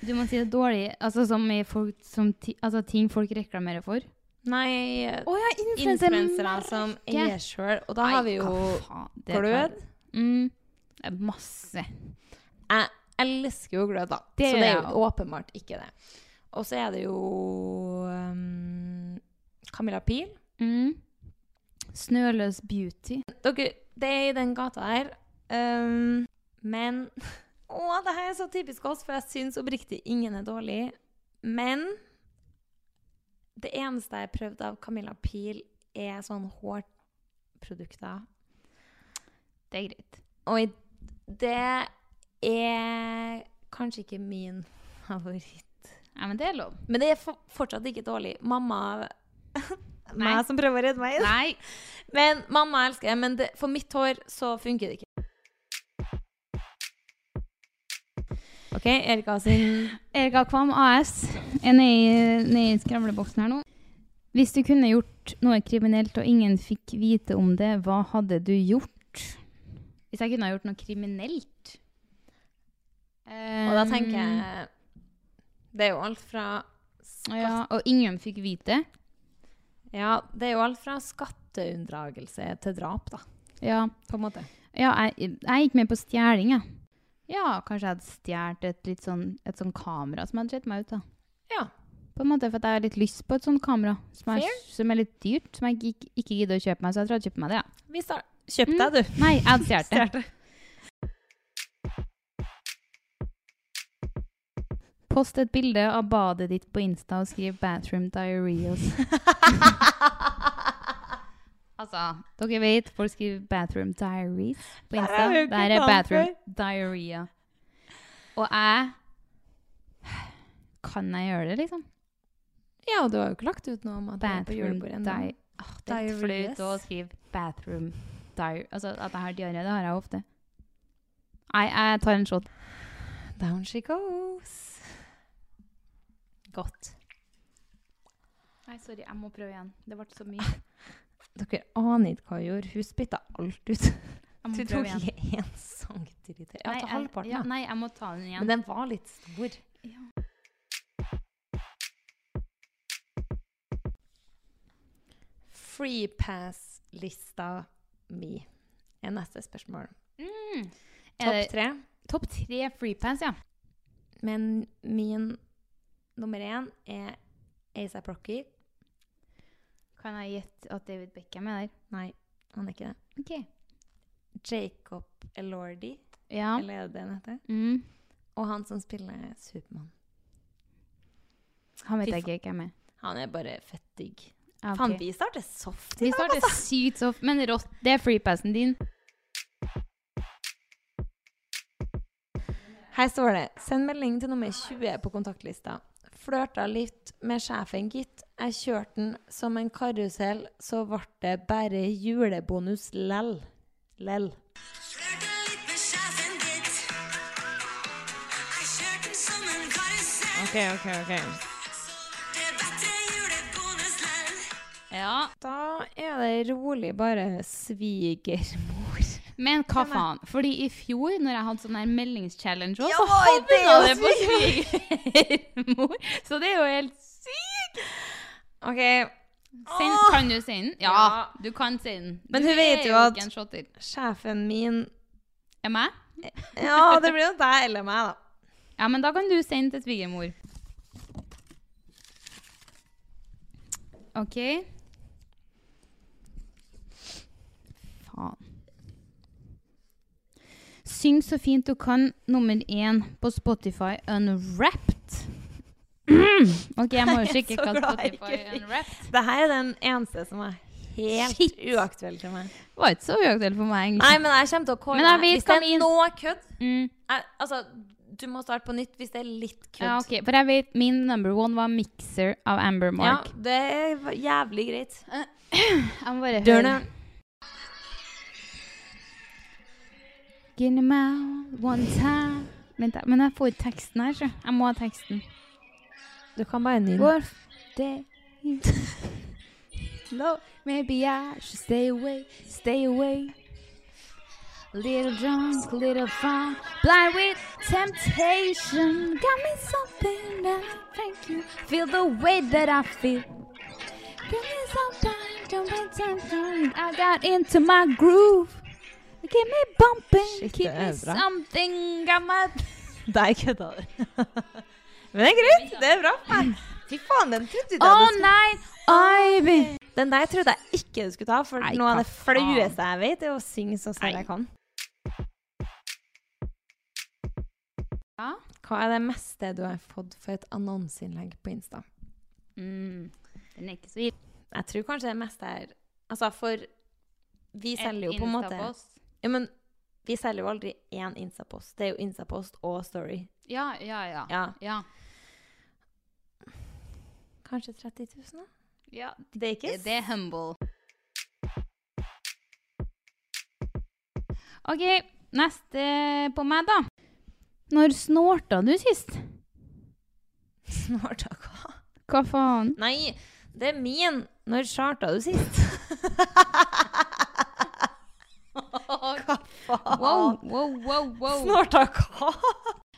[SPEAKER 7] Du må si det dårlig. Altså som i folk, som ti, altså, ting folk reklamerer for.
[SPEAKER 2] Nei,
[SPEAKER 7] Å ja,
[SPEAKER 2] influensersmerke som eier sjøl. Og da har vi jo glød.
[SPEAKER 7] Mm. Det er masse.
[SPEAKER 2] Jeg elsker jo glød, da.
[SPEAKER 7] Det
[SPEAKER 2] så
[SPEAKER 7] gjør
[SPEAKER 2] det er
[SPEAKER 7] jeg
[SPEAKER 2] jo åpenbart ikke det. Og så er det jo um, Camilla Pil.
[SPEAKER 7] Mm. Snøløs beauty.
[SPEAKER 2] Dere, det er i den gata her. Um, men Å, det her er så typisk oss, for jeg syns oppriktig ingen er dårlig. Men det eneste jeg har prøvd av Camilla Pil, er sånn hårprodukter.
[SPEAKER 7] Det er greit.
[SPEAKER 2] Og i- det er kanskje ikke min favoritt.
[SPEAKER 7] Ja, men det er lov.
[SPEAKER 2] Men det er for- fortsatt ikke dårlig. Mamma
[SPEAKER 7] Nei.
[SPEAKER 2] Meg som prøver å redde meg inn.
[SPEAKER 7] Nei.
[SPEAKER 2] Men mamma elsker det. Men det, for mitt hår så funker det ikke. OK, Erika sin
[SPEAKER 7] Erika Kvam AS er nede i- nede i skravleboksen her nå. Hvis du kunne gjort noe kriminelt og ingen fikk vite om det, hva hadde du gjort? Hvis jeg kunne ha gjort noe kriminelt?
[SPEAKER 2] Og da tenker jeg Det er jo alt fra skatt...
[SPEAKER 7] Ja, og ingen fikk vite?
[SPEAKER 2] Ja, det er jo alt fra skatteunndragelse til drap, da.
[SPEAKER 7] Ja.
[SPEAKER 2] På en måte.
[SPEAKER 7] Ja, jeg, jeg gikk med på stjeling, jeg. Ja, kanskje jeg hadde stjålet et litt sånn, et sånn kamera som hadde sett meg ut, da.
[SPEAKER 2] Ja.
[SPEAKER 7] På en måte, for at jeg har litt lyst på et sånt kamera som er,
[SPEAKER 2] Fair.
[SPEAKER 7] som er litt dyrt, som jeg ikke, ikke gidder å kjøpe meg, så jeg tror jeg hadde kjøpt meg det, ja.
[SPEAKER 2] Vi star- Kjøp deg, du.
[SPEAKER 7] Mm. Nei, jeg hadde stjålet det.
[SPEAKER 2] Stjerte.
[SPEAKER 7] Post et bilde av badet ditt på Insta og skriv 'bathroom diarrheas'. altså, dere vet, folk skriver 'bathroom diaries' på
[SPEAKER 2] Der er
[SPEAKER 7] Insta.
[SPEAKER 2] jo ikke
[SPEAKER 7] Der er
[SPEAKER 2] kalt
[SPEAKER 7] bathroom diarrhea. Og jeg Kan jeg gjøre det, liksom?
[SPEAKER 2] Ja, og du har jo ikke lagt ut noe om at du er på
[SPEAKER 7] Bathroom
[SPEAKER 2] julebordet ennå. Ah,
[SPEAKER 7] di... Åh, det er litt
[SPEAKER 2] Diarrheas.
[SPEAKER 7] flaut å skrive 'bathroom diar... Altså, at jeg har diaré, det har jeg ofte. Nei, jeg tar en shot.
[SPEAKER 2] Down she goes. Godt.
[SPEAKER 7] Nei, sorry, jeg må prøve igjen. Det ble så mye.
[SPEAKER 2] Dere aner ikke hva hun gjorde. Hun spytta alt ut.
[SPEAKER 7] Jeg må
[SPEAKER 2] Du
[SPEAKER 7] prøve
[SPEAKER 2] tok
[SPEAKER 7] igjen.
[SPEAKER 2] ikke én centimeter. Ja,
[SPEAKER 7] Nei,
[SPEAKER 2] ta
[SPEAKER 7] jeg-
[SPEAKER 2] halvparten,
[SPEAKER 7] ja,
[SPEAKER 2] da.
[SPEAKER 7] Nei, jeg må ta den igjen.
[SPEAKER 2] Men den var litt stor.
[SPEAKER 7] Ja.
[SPEAKER 2] Freepass-lista mi er neste spørsmål.
[SPEAKER 7] Mm. Er
[SPEAKER 2] Topp
[SPEAKER 7] det-
[SPEAKER 2] tre.
[SPEAKER 7] Topp tre freepass, ja.
[SPEAKER 2] Men min nummer én er ASAP Rocky.
[SPEAKER 7] Kan jeg gjette at David Beckham er der?
[SPEAKER 2] Nei, han er ikke det.
[SPEAKER 7] Ok.
[SPEAKER 2] Jacob Elordi,
[SPEAKER 7] Ja.
[SPEAKER 2] eller er det det han heter?
[SPEAKER 7] Mm.
[SPEAKER 2] Og han som spiller Supermann.
[SPEAKER 7] Han vet
[SPEAKER 2] Fy
[SPEAKER 7] jeg ikke hvem er.
[SPEAKER 2] Han er bare fett digg.
[SPEAKER 7] Ja, ok.
[SPEAKER 2] Faen, vi starter soft i
[SPEAKER 7] Vi
[SPEAKER 2] dag,
[SPEAKER 7] starter
[SPEAKER 2] altså!
[SPEAKER 7] sykt soft, men rått. Det er freepassen din.
[SPEAKER 2] Her står det 'Send melding til nummer 20 på kontaktlista'. Flørta litt med sjefen, gitt. Jeg kjørte den som en karusell, så ble det bare julebonus lell. Lell. OK, OK, OK.
[SPEAKER 7] Ja.
[SPEAKER 2] Da er det rolig bare svigermor.
[SPEAKER 7] Men hva
[SPEAKER 2] Hvem er-
[SPEAKER 7] faen? Fordi i fjor, når jeg hadde sånn her meldingschallenge òg,
[SPEAKER 2] Ja,
[SPEAKER 7] så
[SPEAKER 2] oi,
[SPEAKER 7] havna
[SPEAKER 2] det er
[SPEAKER 7] det på svigermor! Så det er jo helt sykt!
[SPEAKER 2] OK, Send, kan du sende den? Ja, du kan sende den.
[SPEAKER 1] Men
[SPEAKER 2] Du
[SPEAKER 1] hun
[SPEAKER 2] er
[SPEAKER 1] vet jo
[SPEAKER 2] ikke en shotter.
[SPEAKER 1] at sjefen min
[SPEAKER 2] Er meg?
[SPEAKER 1] Ja, det blir jo deg eller meg, da.
[SPEAKER 2] Ja, men da kan du sende til svigermor. OK. Faen. Syng så fint du kan, nummer én på Spotify Unwrapped. OK, jeg må jo sjekke hva Spotify Unwrapped
[SPEAKER 1] Det her er den eneste som er helt
[SPEAKER 2] Shit.
[SPEAKER 1] uaktuell til meg.
[SPEAKER 2] var ikke så uaktuelt for meg, egentlig.
[SPEAKER 8] Nei, men jeg kommer til å kåre
[SPEAKER 2] Men jeg
[SPEAKER 8] meg.
[SPEAKER 2] vet
[SPEAKER 8] Hvis det
[SPEAKER 2] hva
[SPEAKER 8] er
[SPEAKER 2] min-
[SPEAKER 8] noe kødd
[SPEAKER 2] Mm.
[SPEAKER 8] jeg, Altså, du må starte på nytt hvis det er litt kødd.
[SPEAKER 2] Ja, ok, For jeg vet min number one var Mixer av Amber
[SPEAKER 8] Ja,
[SPEAKER 2] Mark.
[SPEAKER 8] det er jævlig greit.
[SPEAKER 2] Jeg må bare høre. Get 'em out one time. Vent, da. Men jeg får ikke teksten her, så. Jeg må ha teksten.
[SPEAKER 1] Du kan bare nynne.
[SPEAKER 2] Går det No, maybe I should stay away, stay away. Little drunk, little fun, blind with temptation. Got me something that I thank you. Feel the way that I feel. Give me some time, don't be tempted. I got into my groove. Give me bumping, give
[SPEAKER 1] det er
[SPEAKER 2] me
[SPEAKER 1] bra.
[SPEAKER 2] something. Got my
[SPEAKER 1] Der kødda du. Men det er greit. Det er bra. for meg. Fy faen, den trodde jeg du
[SPEAKER 2] Å,
[SPEAKER 1] skulle-
[SPEAKER 2] nei, Ivy!
[SPEAKER 1] Den der trodde jeg ikke du skulle ta, for
[SPEAKER 2] Nei,
[SPEAKER 1] noe av
[SPEAKER 2] hva
[SPEAKER 1] det flaueste jeg vet, er å synge så snill jeg kan.
[SPEAKER 2] Ja.
[SPEAKER 1] Hva er det meste du har fått for et annonseinnlegg på Insta?
[SPEAKER 2] Mm, den er ikke så gitt.
[SPEAKER 1] Jeg tror kanskje det meste er Altså, for vi selger jo på en måte Ja, men vi selger jo aldri én Insta-post. Det er jo Insta-post og Story.
[SPEAKER 2] Ja, ja, ja.
[SPEAKER 1] Ja.
[SPEAKER 2] ja.
[SPEAKER 1] Kanskje 30 000, da?
[SPEAKER 2] Ja,
[SPEAKER 1] Det er ikke
[SPEAKER 2] det, det er humble. OK, neste på meg, da. Når snorta du sist?
[SPEAKER 1] Snart av hva?
[SPEAKER 2] Hva faen?
[SPEAKER 1] Nei, det er min. Når charta du sist? Hva faen?
[SPEAKER 2] Wow, wow, wow, wow.
[SPEAKER 1] Snorta hva?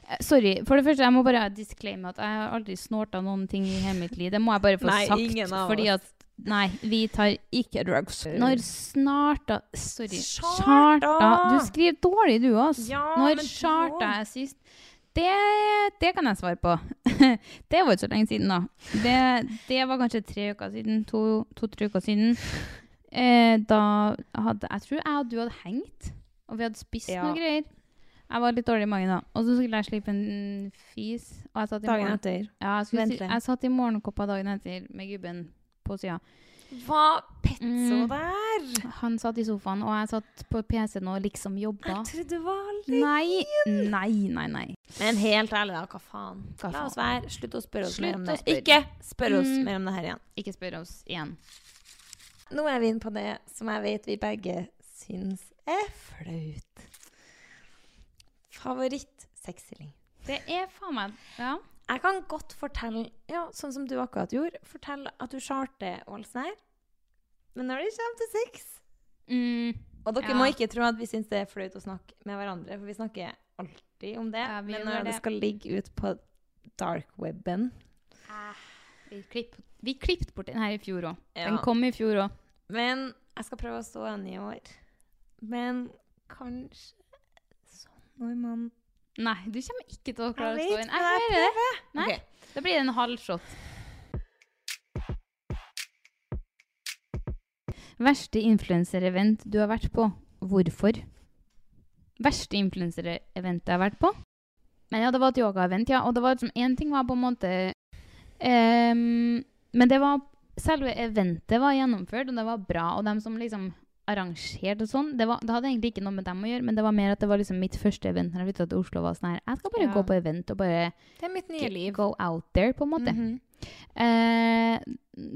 [SPEAKER 2] Eh, Sorry. For det første, jeg må bare disclaime at jeg har aldri snorta noen ting i hele mitt liv. Det må jeg bare få
[SPEAKER 1] Nei,
[SPEAKER 2] sagt.
[SPEAKER 1] ingen av
[SPEAKER 2] fordi
[SPEAKER 1] oss.
[SPEAKER 2] at Nei, vi tar ikke
[SPEAKER 1] Eh.
[SPEAKER 2] drugs. Når snarta Sorry.
[SPEAKER 1] Charta!
[SPEAKER 2] Charta. Du skriver dårlig, du, ass.
[SPEAKER 1] Ja, men
[SPEAKER 2] Når
[SPEAKER 1] du
[SPEAKER 2] charta
[SPEAKER 1] også.
[SPEAKER 2] jeg sist? Det, det kan jeg svare på. det var ikke så lenge siden, da. Det, det var kanskje tre uker siden. To- To-tre uker siden. Eh, da hadde Jeg tror jeg og du hadde hengt, og vi hadde spist
[SPEAKER 1] Ja.
[SPEAKER 2] noe greier. Jeg var litt dårlig i magen da. Og så skulle jeg slippe en fis. Og jeg satt i
[SPEAKER 1] Dagen
[SPEAKER 2] morgen-
[SPEAKER 1] etter.
[SPEAKER 2] Ja, jeg, skulle si,
[SPEAKER 1] Ventelig.
[SPEAKER 2] jeg satt i morgenkåpa dagen etter med gubben på sida.
[SPEAKER 1] Hva petso
[SPEAKER 2] Mm.
[SPEAKER 1] der?
[SPEAKER 2] Han satt i sofaen, og jeg satt på PC-en og liksom jobba.
[SPEAKER 1] Jeg trodde det var litt
[SPEAKER 2] Nei, nei, nei. nei.
[SPEAKER 1] Men helt ærlig, da. Hva faen?
[SPEAKER 2] Hva
[SPEAKER 1] La oss være. Slutt å spørre oss
[SPEAKER 2] Slutt
[SPEAKER 1] mer om
[SPEAKER 2] å
[SPEAKER 1] det.
[SPEAKER 2] spørre.
[SPEAKER 1] Ikke spør oss
[SPEAKER 2] Mm.
[SPEAKER 1] mer om det her igjen.
[SPEAKER 2] Ikke spør oss igjen.
[SPEAKER 1] Nå er vi inne på det som jeg vet vi begge syns er flaut. Favoritt-sexstilling.
[SPEAKER 2] Det er faen meg Ja.
[SPEAKER 1] Jeg kan godt fortelle, ja, sånn som du akkurat gjorde, fortelle at du charter og alt sånt her. Men når det kommer til sex
[SPEAKER 2] Mm,
[SPEAKER 1] Og dere
[SPEAKER 2] Ja.
[SPEAKER 1] må ikke tro at vi syns det er flaut å snakke med hverandre, for vi snakker alltid om det.
[SPEAKER 2] Ja, vi
[SPEAKER 1] men
[SPEAKER 2] gjør
[SPEAKER 1] når det
[SPEAKER 2] det.
[SPEAKER 1] skal ligge ut på darkweben
[SPEAKER 2] Ah, vi klipp- vi klippet bort den her i fjor òg. Den
[SPEAKER 1] Ja.
[SPEAKER 2] kom i fjor òg.
[SPEAKER 1] Men jeg skal prøve å stå enig i år. Men kanskje sånn når man
[SPEAKER 2] Nei, du kommer ikke til å klare å
[SPEAKER 1] Jeg
[SPEAKER 2] stå
[SPEAKER 1] vet,
[SPEAKER 2] inn.
[SPEAKER 1] men jeg
[SPEAKER 2] hører det.
[SPEAKER 1] prøver.
[SPEAKER 2] Nei,
[SPEAKER 1] Ok.
[SPEAKER 2] Da blir det en halv shot. Verste influenserevent du har vært på. Hvorfor? Verste influenserevent jeg har vært på? Men ja, det var et yogaevent, ja. Og det var liksom én ting var på en måte ehm, Men det var Selve eventet var gjennomført, og det var bra. Og dem som liksom arrangerte og sånn, det, var, det hadde egentlig ikke noe med dem å gjøre, men det var mer at det var liksom mitt første event når jeg flytta til Oslo. var sånn her, Jeg skal bare
[SPEAKER 1] Ja.
[SPEAKER 2] gå på event og bare
[SPEAKER 1] Det er mitt nye liv.
[SPEAKER 2] Go out there, på en måte.
[SPEAKER 1] Mhm.
[SPEAKER 2] eh,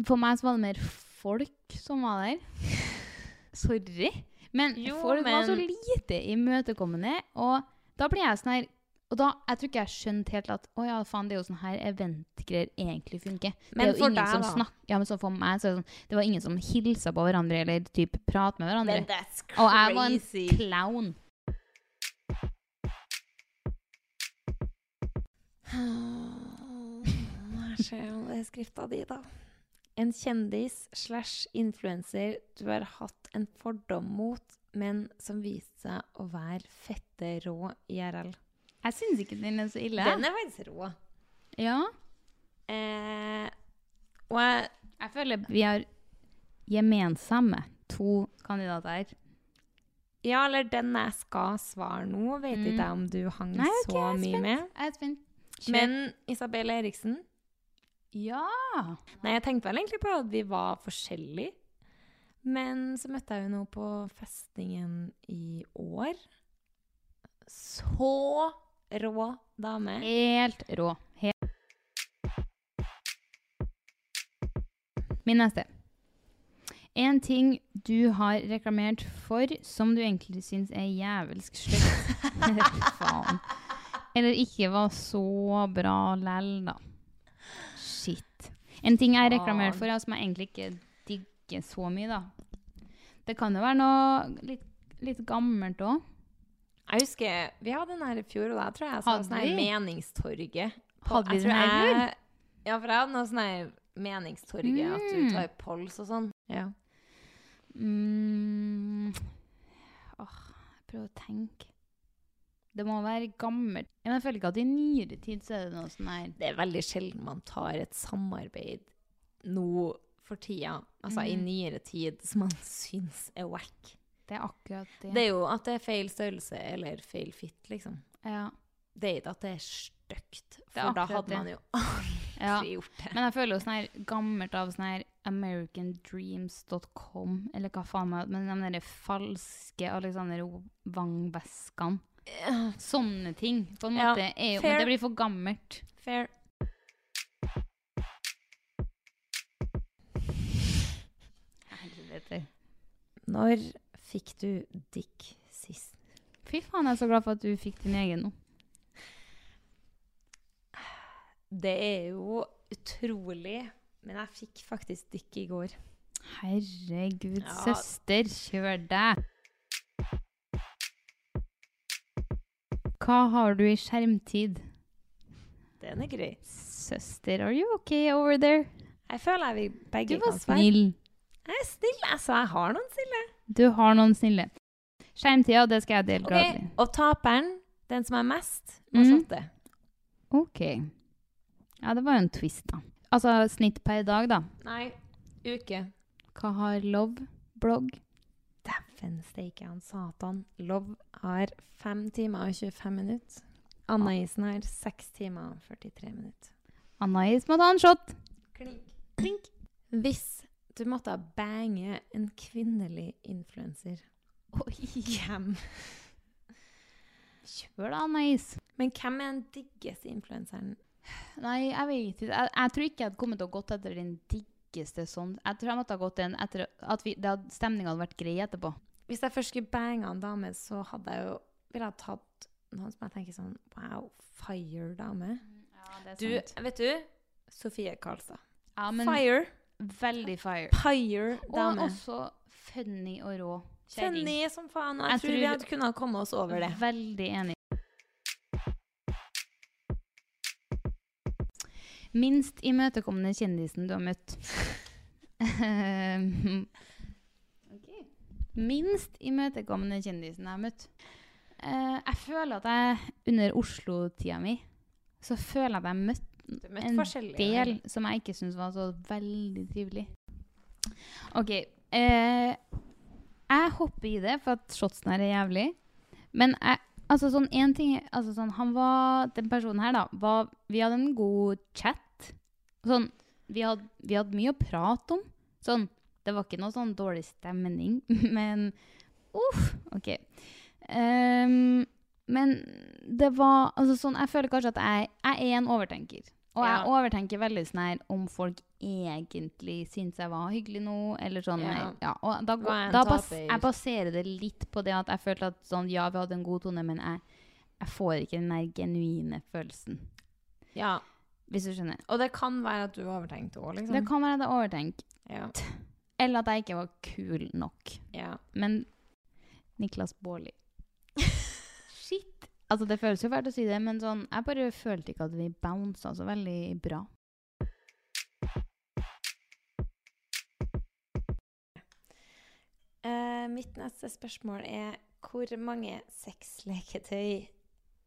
[SPEAKER 2] for meg så var det mer folk som var der. Sorry. Men
[SPEAKER 1] Jo,
[SPEAKER 2] folk var så
[SPEAKER 1] men-
[SPEAKER 2] lite imøtekommende. Og da blir jeg sånn her og da, Jeg tror ikke jeg skjønte helt at å ja, faen, det er jo sånn her eventgreier egentlig funker.
[SPEAKER 1] Men
[SPEAKER 2] det er jo
[SPEAKER 1] for
[SPEAKER 2] ingen
[SPEAKER 1] deg,
[SPEAKER 2] som
[SPEAKER 1] da?
[SPEAKER 2] snakker ja, men så For meg så er det sånn Det var ingen som hilsa på hverandre eller typ prat med
[SPEAKER 1] Men
[SPEAKER 2] hverandre.
[SPEAKER 1] that's
[SPEAKER 2] Og jeg var en
[SPEAKER 1] crazy.
[SPEAKER 2] clown.
[SPEAKER 1] Her ser jeg skrifta di, da. En kjendis slash influenser du har hatt en fordom mot, men som viste seg å være fette rå IRL.
[SPEAKER 2] Jeg syns ikke den er så ille.
[SPEAKER 1] Den er faktisk rå.
[SPEAKER 2] Ja.
[SPEAKER 1] Eh, og jeg,
[SPEAKER 2] jeg føler vi har gemensamme to kandidater.
[SPEAKER 1] Ja, eller den jeg skal svare nå, vet
[SPEAKER 2] Mm.
[SPEAKER 1] ikke jeg om du hang
[SPEAKER 2] Nei, ok,
[SPEAKER 1] så
[SPEAKER 2] jeg er
[SPEAKER 1] mye
[SPEAKER 2] spent.
[SPEAKER 1] med.
[SPEAKER 2] Jeg er spent. Kjør.
[SPEAKER 1] Men Isabel Eriksen
[SPEAKER 2] Ja!
[SPEAKER 1] Nei, jeg tenkte vel egentlig på at vi var forskjellige. Men så møtte jeg henne nå på festningen i år. Så rå dame.
[SPEAKER 2] Helt rå. Helt. Min neste. En ting du har reklamert for som du egentlig syns er jævelsk sløkt. Faen. Eller ikke var så bra lell, da. Shit. En ting jeg har reklamert for, ja, som jeg egentlig ikke digger så mye, da. Det kan jo være noe litt, litt gammelt òg.
[SPEAKER 1] Jeg husker vi hadde den her i fjor, og da tror jeg jeg sa
[SPEAKER 2] Hadde
[SPEAKER 1] sånn her
[SPEAKER 2] vi?
[SPEAKER 1] Meningstorget. på-
[SPEAKER 2] Hadde vi
[SPEAKER 1] jeg tror
[SPEAKER 2] den her i
[SPEAKER 1] jeg- Ja, for jeg hadde noe sånn her Meningstorget, at du tar pols og sånn. Ja.
[SPEAKER 2] Mm. Åh, jeg prøver å tenke. Det må være gammelt. Ja, Men jeg føler ikke at i nyere tid så er det noe sånn her
[SPEAKER 1] Det er veldig sjelden man tar et samarbeid nå for tida, altså i
[SPEAKER 2] Mhm.
[SPEAKER 1] nyere tid, som man syns er wack.
[SPEAKER 2] Det er akkurat det.
[SPEAKER 1] Det er jo at det er feil størrelse eller feil fit, liksom.
[SPEAKER 2] ja.
[SPEAKER 1] Det er ikke at det er stygt,
[SPEAKER 2] Det er
[SPEAKER 1] for da
[SPEAKER 2] akkurat
[SPEAKER 1] hadde
[SPEAKER 2] det.
[SPEAKER 1] man jo aldri
[SPEAKER 2] Ja.
[SPEAKER 1] gjort det.
[SPEAKER 2] Men jeg føler jo sånn her gammelt av sånn her americandreams.com, eller hva faen meg, men de der falske Alexander Wang-veskene. Sånne ting, på en
[SPEAKER 1] Ja,
[SPEAKER 2] måte. er jo, men
[SPEAKER 1] fair.
[SPEAKER 2] det blir for gammelt.
[SPEAKER 1] Fair.
[SPEAKER 2] Helvete.
[SPEAKER 1] Når fikk du dick sist?
[SPEAKER 2] Fy faen, jeg er så glad for at du fikk din egen nå.
[SPEAKER 1] Det er jo utrolig, men jeg fikk faktisk dick i går.
[SPEAKER 2] Herregud,
[SPEAKER 1] Ja.
[SPEAKER 2] søster, kjør deg! Hva har du i skjermtid?
[SPEAKER 1] Den er grei.
[SPEAKER 2] Søster, are you okay over there?
[SPEAKER 1] Jeg føler jeg vi
[SPEAKER 2] Du
[SPEAKER 1] begge
[SPEAKER 2] var
[SPEAKER 1] kan svare.
[SPEAKER 2] snill.
[SPEAKER 1] Jeg er snill. Altså, jeg har noen snille.
[SPEAKER 2] Du har noen snille. Skjermtida, det skal jeg dele
[SPEAKER 1] Ok,
[SPEAKER 2] gladelig.
[SPEAKER 1] Og taperen, den som er mest, må
[SPEAKER 2] Mm.
[SPEAKER 1] shotte.
[SPEAKER 2] Ok. Ja, det var jo en twist, da. Altså snitt per dag, da.
[SPEAKER 1] Nei, uke.
[SPEAKER 2] Hva har Love? Blogg?
[SPEAKER 1] Dæven steike, han satan. Love har 5 timer og 25 minutter. Anna Isen har 6 timer og 43 minutter.
[SPEAKER 2] Anais må ta en shot.
[SPEAKER 1] Klink, klink. Hvis du måtte bange en kvinnelig influenser, hvem?
[SPEAKER 2] Kjør da, Anais.
[SPEAKER 1] Men hvem er den diggeste influenseren?
[SPEAKER 2] Nei, jeg vet ikke. Jeg, jeg tror ikke jeg hadde kommet til å gått etter den diggeste sånn. Jeg tror jeg måtte ha gått den etter at vi, det hadde, stemninga hadde vært grei etterpå.
[SPEAKER 1] Hvis jeg først skulle bange en dame, så hadde jeg jo ville jeg tatt noen som jeg tenker sånn Wow, fire dame. Du, vet du? Sofie Karlstad.
[SPEAKER 2] ja, men
[SPEAKER 1] fire.
[SPEAKER 2] Veldig fire.
[SPEAKER 1] Pyre
[SPEAKER 2] Og
[SPEAKER 1] dame.
[SPEAKER 2] også funny og rå. kjerring.
[SPEAKER 1] Funny som faen. Og jeg,
[SPEAKER 2] Jeg
[SPEAKER 1] tror, vi
[SPEAKER 2] tror-
[SPEAKER 1] hadde kunnet komme oss over det.
[SPEAKER 2] Veldig enig. Minst imøtekommende kjendisen du har møtt. Ehm, Minst imøtekommende kjendisen jeg har møtt. Eh, jeg føler at jeg under Oslo-tida mi så føler jeg at jeg møtte
[SPEAKER 1] møtte
[SPEAKER 2] en
[SPEAKER 1] forskjellige.
[SPEAKER 2] del som jeg ikke syntes var så veldig trivelig. OK. eh, jeg hopper i det, for at shotsen her er jævlig. Men jeg, altså sånn en ting altså sånn, han var, Den personen her, da, var, vi hadde en god chat. Sånn, vi hadde, vi hadde mye å prate om. Sånn, det var ikke noe sånn dårlig stemning, men uff, OK. Ehm, men det var altså sånn, Jeg føler kanskje at jeg, jeg er en overtenker. Og jeg
[SPEAKER 1] Ja.
[SPEAKER 2] overtenker veldig sånn her om folk egentlig syns jeg var hyggelig nå, eller sånn. Ja.
[SPEAKER 1] Ja.
[SPEAKER 2] og da,
[SPEAKER 1] Hva
[SPEAKER 2] går-
[SPEAKER 1] er en
[SPEAKER 2] da bas,
[SPEAKER 1] taper?
[SPEAKER 2] jeg baserer det litt på det at jeg følte at sånn, ja, vi hadde en god tone, men jeg, jeg får ikke den der genuine følelsen.
[SPEAKER 1] Ja.
[SPEAKER 2] Hvis du skjønner.
[SPEAKER 1] Og det kan være at du overtenkte òg, liksom.
[SPEAKER 2] Det kan være at jeg overtenker.
[SPEAKER 1] Ja.
[SPEAKER 2] Eller at jeg ikke var kul nok.
[SPEAKER 1] ja.
[SPEAKER 2] Men Niklas Baarli Shit! Altså, det føles jo fælt å si det, men sånn, jeg bare følte ikke at vi bounsa så veldig bra. Eh, mitt neste spørsmål er hvor mange sexleketøy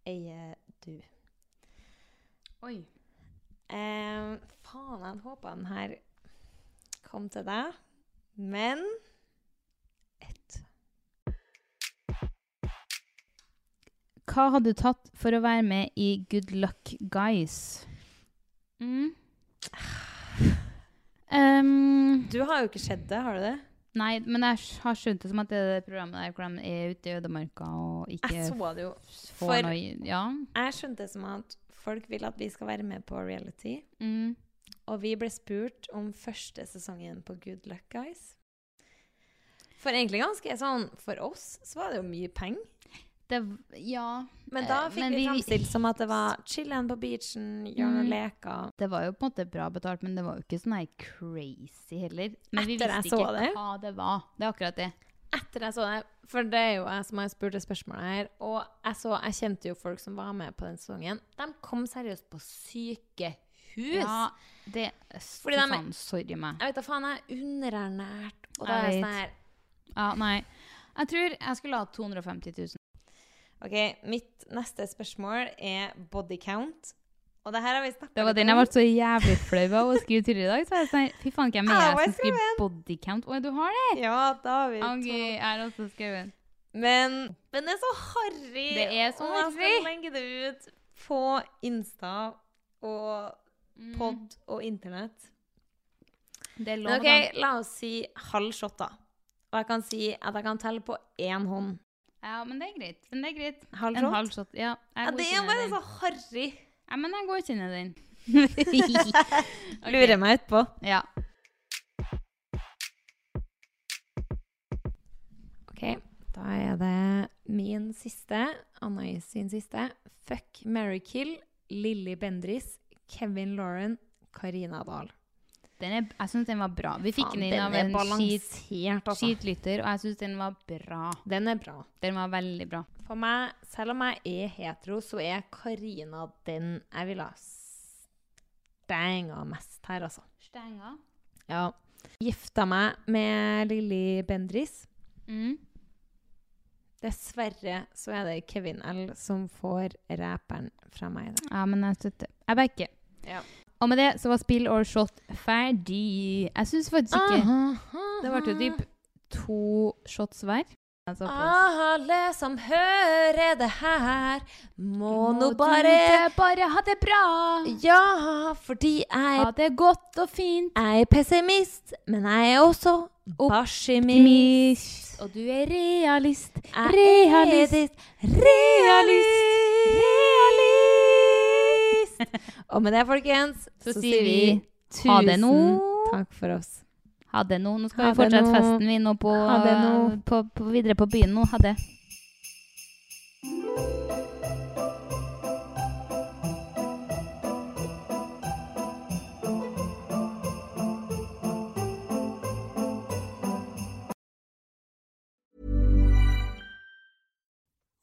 [SPEAKER 2] eier du?
[SPEAKER 3] Oi.
[SPEAKER 2] Eh, faen, jeg håpa den her kom til deg. Men ett.
[SPEAKER 3] Hva hadde du tatt for å være med i Good Luck Guys? Mm. Um,
[SPEAKER 2] Du har jo ikke sett det, har du det?
[SPEAKER 3] nei, men jeg s- har skjønt det som at det er det programmet der hvor de er ute i ødemarka og ikke
[SPEAKER 2] Jeg så det jo.
[SPEAKER 3] f- får
[SPEAKER 2] For
[SPEAKER 3] noe Ja.
[SPEAKER 2] jeg skjønte det som at folk vil at vi skal være med på reality.
[SPEAKER 3] Mm.
[SPEAKER 2] Og vi ble spurt om første sesongen på Good Luck Guys. For egentlig ganske sånn For oss så var det jo mye penger.
[SPEAKER 3] Det, v- ja.
[SPEAKER 2] Men da
[SPEAKER 3] Eh,
[SPEAKER 2] fikk
[SPEAKER 3] men
[SPEAKER 2] vi
[SPEAKER 3] vi-
[SPEAKER 2] framstilt som at det var chillen på beachen, gjøre noen
[SPEAKER 3] Mm.
[SPEAKER 2] leker.
[SPEAKER 3] Det var jo på en måte bra betalt, men det var jo ikke sånn her crazy heller. Men vi
[SPEAKER 2] Etter jeg
[SPEAKER 3] visste
[SPEAKER 2] så
[SPEAKER 3] ikke
[SPEAKER 2] det.
[SPEAKER 3] hva det var. Det er akkurat det.
[SPEAKER 2] Etter jeg så det, for det er jo jeg som har spurt det spørsmålet her, og jeg så, jeg kjente jo folk som var med på den sesongen, de kom seriøst på sykehus.
[SPEAKER 3] Ja, det
[SPEAKER 2] Fordi
[SPEAKER 3] Fordi
[SPEAKER 2] de-
[SPEAKER 3] faen, Sorry meg.
[SPEAKER 2] Jeg vet da faen, jeg er underernært, og da
[SPEAKER 3] Jeg
[SPEAKER 2] er
[SPEAKER 3] vet.
[SPEAKER 2] jeg sånn her,
[SPEAKER 3] Ja, nei. Jeg tror jeg skulle ha 250 000.
[SPEAKER 2] ok, mitt neste spørsmål er body count, og det her har vi snakket
[SPEAKER 3] Det var
[SPEAKER 2] litt
[SPEAKER 3] den jeg
[SPEAKER 2] om.
[SPEAKER 3] ble så jævlig flau av å skrive tidligere i dag. Så jeg er sånn, fy faen, hvem er
[SPEAKER 2] Jeg har
[SPEAKER 3] jeg som
[SPEAKER 2] også
[SPEAKER 3] skriver
[SPEAKER 2] skrevet.
[SPEAKER 3] bodycount? Å, du har det?
[SPEAKER 2] Ja, da har vi to.
[SPEAKER 3] Ok, jeg har også skrevet.
[SPEAKER 2] Men, men det er så harry.
[SPEAKER 3] Det er så
[SPEAKER 2] og Jeg
[SPEAKER 3] harry.
[SPEAKER 2] skal legge det ut på Insta og pod og internett.
[SPEAKER 3] Mm. Det er
[SPEAKER 2] Men
[SPEAKER 3] lov,
[SPEAKER 2] ok, la oss si halv shot, da. Og jeg kan si at jeg kan telle på én hånd.
[SPEAKER 3] da. Ja, men det er greit. Men det er greit.
[SPEAKER 2] Halv
[SPEAKER 3] En
[SPEAKER 2] shot?
[SPEAKER 3] halv shot. Ja, jeg
[SPEAKER 2] Ja, det er
[SPEAKER 3] godkjenner
[SPEAKER 2] bare
[SPEAKER 3] den.
[SPEAKER 2] så harry.
[SPEAKER 3] Ja, men jeg godkjenner den. Ok.
[SPEAKER 2] Lurer meg utpå.
[SPEAKER 3] Ja.
[SPEAKER 2] Ok, da er det min siste, Anna sin siste. Fuck, marry, kill, Lilly Bendris, Kevin Lauren, Karina Dahl.
[SPEAKER 3] Den er, jeg syns den var bra. Vi fikk
[SPEAKER 2] Faen,
[SPEAKER 3] den inn av
[SPEAKER 2] er
[SPEAKER 3] en skit,
[SPEAKER 2] balansert, altså.
[SPEAKER 3] skitlytter, og jeg syns den var bra.
[SPEAKER 2] Den er bra.
[SPEAKER 3] Den var veldig bra.
[SPEAKER 2] For meg, selv om jeg er hetero, så er Karina den jeg ville ha stenga mest her, altså.
[SPEAKER 3] Stenger.
[SPEAKER 2] Ja. Gifta meg med Lilly Bendris.
[SPEAKER 3] Mm.
[SPEAKER 2] Dessverre så er det Kevin L som får ræperen fra meg. Da.
[SPEAKER 3] Ja, men jeg støtter. Jeg backer.
[SPEAKER 2] Ja.
[SPEAKER 3] Og med det så var spill or shot ferdig. Jeg syns
[SPEAKER 2] Ah,
[SPEAKER 3] faktisk ikke Det ble jo typ to shots hver. Altså, på-
[SPEAKER 2] Alle som hører det her, må nå
[SPEAKER 3] du
[SPEAKER 2] bare
[SPEAKER 3] bare ha det bra!
[SPEAKER 2] Ja, fordi jeg
[SPEAKER 3] Ha det godt og fint.
[SPEAKER 2] Jeg er pessimist, men jeg er også optimist.
[SPEAKER 3] Og du er realist.
[SPEAKER 2] Jeg er
[SPEAKER 3] Realist.
[SPEAKER 2] Realist. Realist. Og med det, folkens,
[SPEAKER 3] Så sier vi ha det nå.
[SPEAKER 2] tusen Takk for oss.
[SPEAKER 3] Ha det nå. Nå skal
[SPEAKER 2] Ha
[SPEAKER 3] vi
[SPEAKER 2] det
[SPEAKER 3] fortsette
[SPEAKER 2] nå.
[SPEAKER 3] festen vi nå på,
[SPEAKER 2] Ha det nå.
[SPEAKER 3] På, på, videre på byen nå. Ha det.